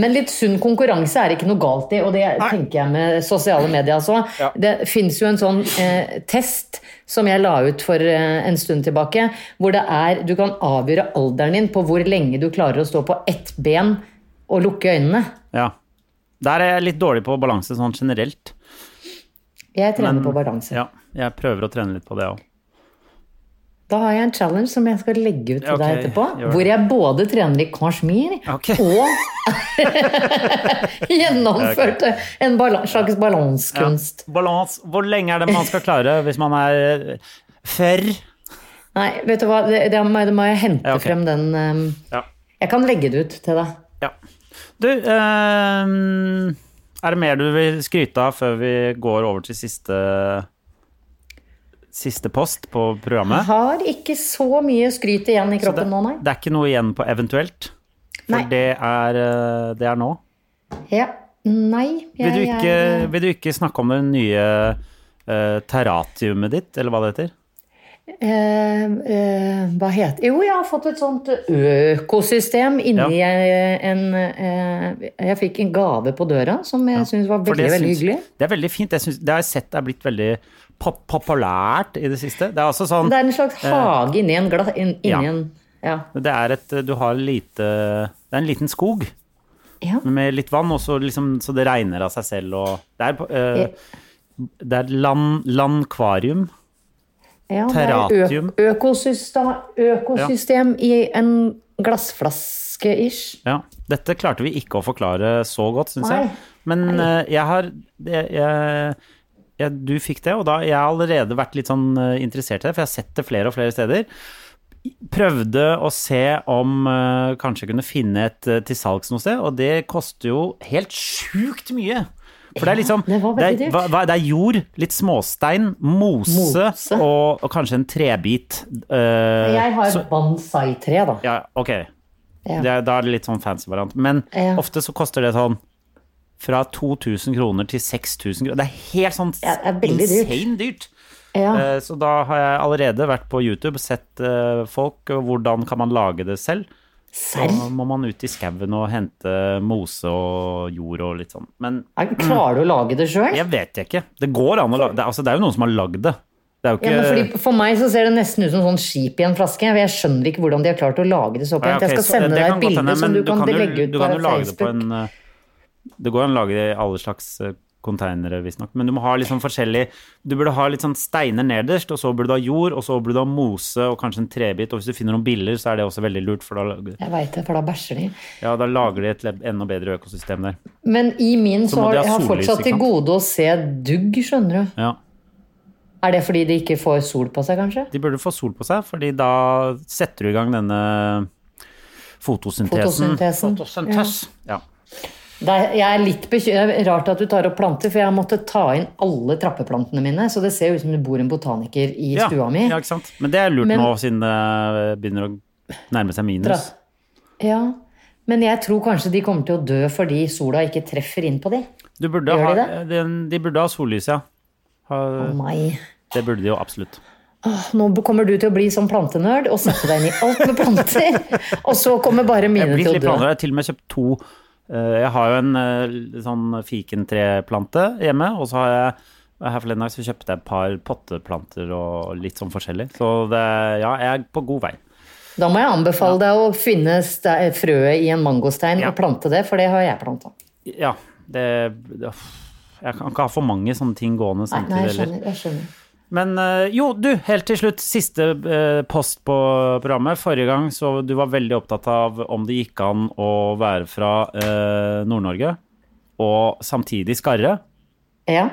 [SPEAKER 1] Men litt sunn konkurranse er det ikke noe galt i, og det tenker jeg med sosiale medier også.
[SPEAKER 2] Ja.
[SPEAKER 1] Det fins jo en sånn eh, test som jeg la ut for eh, en stund tilbake, hvor det er Du kan avgjøre alderen din på hvor lenge du klarer å stå på ett ben og lukke øynene.
[SPEAKER 2] Ja. Der er jeg litt dårlig på balanse sånn generelt.
[SPEAKER 1] Jeg trener på balanse.
[SPEAKER 2] Ja, jeg prøver å trene litt på det òg.
[SPEAKER 1] Da har jeg en challenge som jeg skal legge ut til
[SPEAKER 2] Ok,
[SPEAKER 1] deg etterpå.
[SPEAKER 2] gjør det.
[SPEAKER 1] Hvor jeg både trener i kasjmir
[SPEAKER 2] Ok.
[SPEAKER 1] og gjennomførte en bala slags balansekunst.
[SPEAKER 2] Balans. Hvor lenge er det man skal klare hvis man er eh, før?
[SPEAKER 1] Nei, vet du hva, det, det, må, det må jeg hente
[SPEAKER 2] Ja, ok.
[SPEAKER 1] frem den ehm,
[SPEAKER 2] Ja.
[SPEAKER 1] Jeg kan legge det ut til deg.
[SPEAKER 2] ja. Du, ehm, er det mer du vil skryte av før vi går over til siste Siste post på programmet?
[SPEAKER 1] Har ikke så mye skryt igjen i kroppen nå, nei.
[SPEAKER 2] Det er ikke noe igjen på eventuelt? For
[SPEAKER 1] Nei.
[SPEAKER 2] det er, eh, det er nå?
[SPEAKER 1] Ja. Nei.
[SPEAKER 2] Vil du,
[SPEAKER 1] jeg-
[SPEAKER 2] ikke,
[SPEAKER 1] jeg-
[SPEAKER 2] vil du ikke snakke om det nye eh, terratiumet ditt, eller hva det heter?
[SPEAKER 1] Eh, eh, hva heter Jo, jeg har fått et sånt økosystem inni eh, en eh, Jeg fikk en gave på døra som jeg synes syns var
[SPEAKER 2] For
[SPEAKER 1] veldig,
[SPEAKER 2] det
[SPEAKER 1] veldig
[SPEAKER 2] syns-
[SPEAKER 1] hyggelig.
[SPEAKER 2] Det er veldig fint. Jeg syns- det har jeg sett er blitt veldig pop populært i det siste. Det er også sånn
[SPEAKER 1] Det er en slags hage inni en glass... In, inni
[SPEAKER 2] ja.
[SPEAKER 1] en ja.
[SPEAKER 2] det er et, Du har lite Det er en liten skog
[SPEAKER 1] ja.
[SPEAKER 2] med litt vann, og så, liksom, så det regner av seg selv og Det er, eh, det er land, landkvarium.
[SPEAKER 1] Ja, det er
[SPEAKER 2] Terratium.
[SPEAKER 1] ø- Økosystem, økosystem i en glassflaske-ish.
[SPEAKER 2] Ja. Dette klarte vi ikke å forklare så godt, syns jeg.
[SPEAKER 1] Nei.
[SPEAKER 2] Men eh, jeg har jeg, jeg, jeg, Du fikk det, og da jeg har allerede vært litt sånn eh, interessert i det, for jeg har sett det flere og flere steder. Prøvde å se om eh, kanskje jeg kunne finne et eh, til salgs noe sted, og det koster jo helt sjukt mye. For det er liksom
[SPEAKER 1] det var
[SPEAKER 2] det
[SPEAKER 1] veldig
[SPEAKER 2] er,
[SPEAKER 1] dyrt.
[SPEAKER 2] hva, hva, det er jord, litt småstein, mose,
[SPEAKER 1] Mose.
[SPEAKER 2] Og, og kanskje en trebit. eh,
[SPEAKER 1] Jeg har
[SPEAKER 2] så-
[SPEAKER 1] et bonsai-tre, da.
[SPEAKER 2] ja, ok.
[SPEAKER 1] Ja.
[SPEAKER 2] Det, er- da er det litt sånn fancy variant. Men
[SPEAKER 1] Ja.
[SPEAKER 2] ofte så koster det sånn fra 2000 kroner til 6000 kroner. Det er helt sånn
[SPEAKER 1] Ja, det er veldig dyrt.
[SPEAKER 2] insane dyrt.
[SPEAKER 1] Ja.
[SPEAKER 2] Eh, Så da har jeg allerede vært på YouTube, sett eh, folk, og hvordan kan man lage det selv. Da
[SPEAKER 1] Serr?
[SPEAKER 2] må man ut i skauen og hente mose og jord og litt sånn. Men
[SPEAKER 1] Er- Klarer du å lage det sjøl?
[SPEAKER 2] jeg vet jeg ikke. Det går an å lage det. er- Altså, det er jo noen som har lagd det. Det er
[SPEAKER 1] Ja,
[SPEAKER 2] jo ikke
[SPEAKER 1] men fordi For meg så ser det nesten ut som sånn skip i en flaske. Jeg skjønner ikke hvordan de har klart å lage det så
[SPEAKER 2] Ja,
[SPEAKER 1] pent.
[SPEAKER 2] ok,
[SPEAKER 1] Jeg skal
[SPEAKER 2] så det-
[SPEAKER 1] sende
[SPEAKER 2] det
[SPEAKER 1] deg
[SPEAKER 2] kan
[SPEAKER 1] et
[SPEAKER 2] godt hende,
[SPEAKER 1] bilde som
[SPEAKER 2] men
[SPEAKER 1] du kan
[SPEAKER 2] jo-
[SPEAKER 1] legge ut
[SPEAKER 2] du
[SPEAKER 1] på
[SPEAKER 2] kan jo lage det på
[SPEAKER 1] Facebook.
[SPEAKER 2] en, eh, Det går an å lage det i alle slags eh, containere, visstnok, men du må ha litt sånn forskjellig Du burde ha litt sånn steiner nederst, og så burde du ha jord, og så burde du ha mose og kanskje en trebit, og hvis du finner noen biller, så er det også veldig lurt, for da, lager-
[SPEAKER 1] Jeg veit det, for da bæsjer de.
[SPEAKER 2] ja, da lager de et leb- enda bedre økosystem der.
[SPEAKER 1] Men i min
[SPEAKER 2] må
[SPEAKER 1] så har
[SPEAKER 2] de ha
[SPEAKER 1] jeg har
[SPEAKER 2] sollys,
[SPEAKER 1] fortsatt til
[SPEAKER 2] ikke sant?
[SPEAKER 1] gode å se dugg, skjønner du.
[SPEAKER 2] Ja.
[SPEAKER 1] Er det fordi de ikke får sol på seg, kanskje?
[SPEAKER 2] De burde få sol på seg, fordi da setter du i gang denne fotosyntesen.
[SPEAKER 1] Fotosyntesen.
[SPEAKER 2] Fotosyntes. Ja.
[SPEAKER 1] Det er, jeg er litt bekymret. Rart at du tar opp planter, for jeg har måttet ta inn alle trappeplantene mine. Så det ser ut som det bor en botaniker i
[SPEAKER 2] Ja.
[SPEAKER 1] stua mi.
[SPEAKER 2] ja, ikke sant. Men det er lurt
[SPEAKER 1] Men-
[SPEAKER 2] nå, siden det begynner å nærme seg minus.
[SPEAKER 1] Dra- Ja. Men jeg tror kanskje de kommer til å dø fordi sola ikke treffer inn på de.
[SPEAKER 2] Du burde
[SPEAKER 1] Gjør
[SPEAKER 2] ha,
[SPEAKER 1] de
[SPEAKER 2] de, de burde ha sollys, ja. Ha,
[SPEAKER 1] Å nei.
[SPEAKER 2] det burde de jo absolutt.
[SPEAKER 1] Åh, Nå kommer du til å bli som plantenerd og sette deg inn i alt med planter. Og så kommer bare
[SPEAKER 2] Jeg
[SPEAKER 1] mine
[SPEAKER 2] har blitt
[SPEAKER 1] til å
[SPEAKER 2] litt
[SPEAKER 1] dø.
[SPEAKER 2] planter. Jeg har til og med kjøpt to eh, Jeg har jo en eh, sånn fikentreplante hjemme, og så har jeg her forleden dag så kjøpte jeg et par potteplanter og litt sånn forskjellig. Så det, ja, jeg er på god vei.
[SPEAKER 1] Da må jeg anbefale deg å finne ste- frøet i en mangostein
[SPEAKER 2] Ja.
[SPEAKER 1] og plante det, for det har jeg planta.
[SPEAKER 2] Ja, det, det Jeg kan ikke ha for mange sånne ting gående
[SPEAKER 1] Nei, nei,
[SPEAKER 2] samtidig.
[SPEAKER 1] jeg
[SPEAKER 2] heller.
[SPEAKER 1] skjønner. Jeg skjønner.
[SPEAKER 2] Men eh, jo, du, helt til slutt, siste eh, post på programmet. Forrige gang så du var veldig opptatt av om det gikk an å være fra eh, Nord-Norge og samtidig skarre.
[SPEAKER 1] Ja.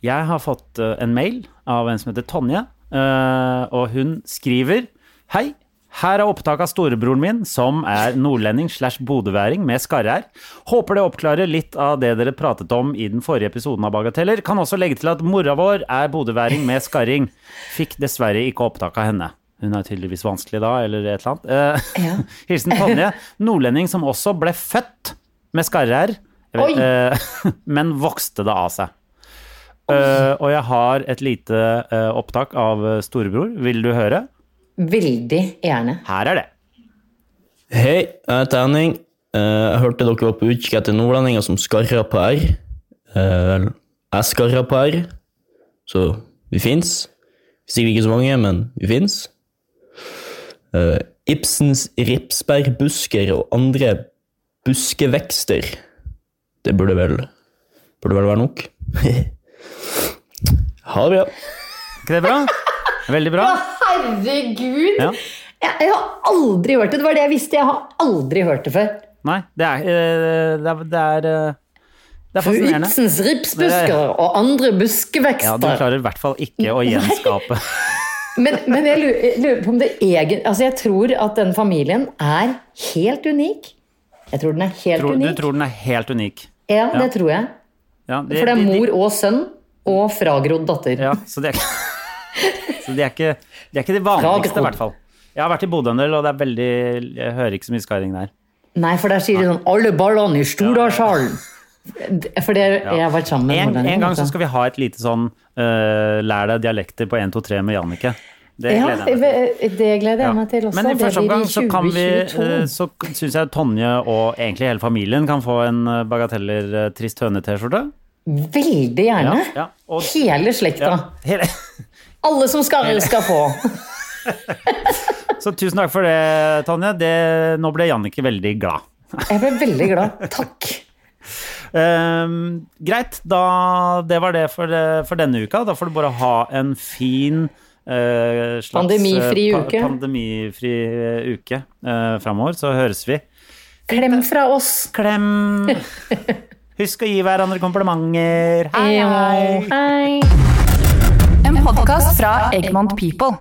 [SPEAKER 2] Jeg har fått eh, en mail av en som heter Tonje, eh, og hun skriver Hei, her er opptak av storebroren min, som er nordlending slash bodøværing med skarre-r. Håper det oppklarer litt av det dere pratet om i den forrige episoden av Bagateller. Kan også legge til at mora vår er bodøværing med skarring. Fikk dessverre ikke opptak av henne. Hun er tydeligvis vanskelig da, eller et eller annet. Eh,
[SPEAKER 1] Ja.
[SPEAKER 2] Hilsen Tonje, nordlending som også ble født med skarre-r, Jeg vet,
[SPEAKER 1] Oi.
[SPEAKER 2] eh, men vokste det av seg. Eh, og jeg har et lite eh, opptak av eh, storebror. Vil du høre?
[SPEAKER 1] Veldig gjerne.
[SPEAKER 2] Her er det.
[SPEAKER 5] Hei, jeg heter Henning. Eh, Jeg hørte dere var på utkikk etter nordlendinger som skarrer på R. Eh, Vel, jeg skarrer på R, så vi fins. Sikkert ikke så mange, men vi fins. Eh, Ibsens ripsbærbusker og andre buskevekster. Det burde vel, burde vel være nok. ha det bra.
[SPEAKER 2] Ikke det bra? Veldig bra.
[SPEAKER 1] Herregud!
[SPEAKER 2] Ja.
[SPEAKER 1] Jeg, jeg har aldri hørt det. Det var det jeg visste. Jeg har aldri hørt det før.
[SPEAKER 2] Nei, det er eh, Det er, det er, eh, det er
[SPEAKER 1] Fru
[SPEAKER 2] fascinerende.
[SPEAKER 1] Ibsens ripsbusker og andre
[SPEAKER 2] Ja, du
[SPEAKER 1] buskevekster.
[SPEAKER 2] klarer i hvert fall ikke å gjenskape
[SPEAKER 1] men, men jeg lurer, jeg lurer på om det egen... Altså, jeg tror at den familien er helt unik. Jeg tror den er helt
[SPEAKER 2] tror, Du
[SPEAKER 1] unik.
[SPEAKER 2] tror den er helt unik.
[SPEAKER 1] ja, det tror jeg.
[SPEAKER 2] Ja, de-
[SPEAKER 1] For det er
[SPEAKER 2] de- de-
[SPEAKER 1] mor og sønn og fragrodd datter.
[SPEAKER 2] Ja, så det er ikke Så det er ikke, det er ikke det vanligste, i hvert fall. Jeg har vært i Bodø en del, og det er veldig Jeg hører ikke så mye skarring der.
[SPEAKER 1] Nei, for der sier de sånn 'alle ballene i Stordalshallen'. For det, jeg har vært sammen med
[SPEAKER 2] En,
[SPEAKER 1] nordlendinger,
[SPEAKER 2] en gang
[SPEAKER 1] vet
[SPEAKER 2] så
[SPEAKER 1] du.
[SPEAKER 2] skal vi ha et lite sånn eh, lær deg dialekter på 1, 2, 3 med Jannicke. Det
[SPEAKER 1] ja,
[SPEAKER 2] gleder jeg meg til.
[SPEAKER 1] det gleder jeg meg til også.
[SPEAKER 2] Men i
[SPEAKER 1] Det
[SPEAKER 2] første
[SPEAKER 1] blir i
[SPEAKER 2] omgang så kan vi
[SPEAKER 1] 2022.
[SPEAKER 2] eh, Så syns jeg Tonje og egentlig hele familien kan få en eh, Bagateller eh, Trist høne-T-skjorte.
[SPEAKER 1] Veldig gjerne.
[SPEAKER 2] Ja, ja. Og-
[SPEAKER 1] Hele slekta.
[SPEAKER 2] Ja, hele.
[SPEAKER 1] Alle som skarrer skal få.
[SPEAKER 2] Så tusen takk for det, Tonje. Det, nå ble Jannicke veldig glad.
[SPEAKER 1] Jeg ble veldig glad. Takk.
[SPEAKER 2] Ehm, greit, da det var det for, eh, for denne uka. Da får du bare ha en fin eh, slags
[SPEAKER 1] Pandemifri
[SPEAKER 2] eh, pa-
[SPEAKER 1] uke.
[SPEAKER 2] pandemifri eh, uke eh, framover, så høres vi.
[SPEAKER 1] Klem fra oss.
[SPEAKER 2] Klem! Husk å gi hverandre komplimenter. Hei, hei!
[SPEAKER 1] Hei.
[SPEAKER 6] En podkast fra Egmont People.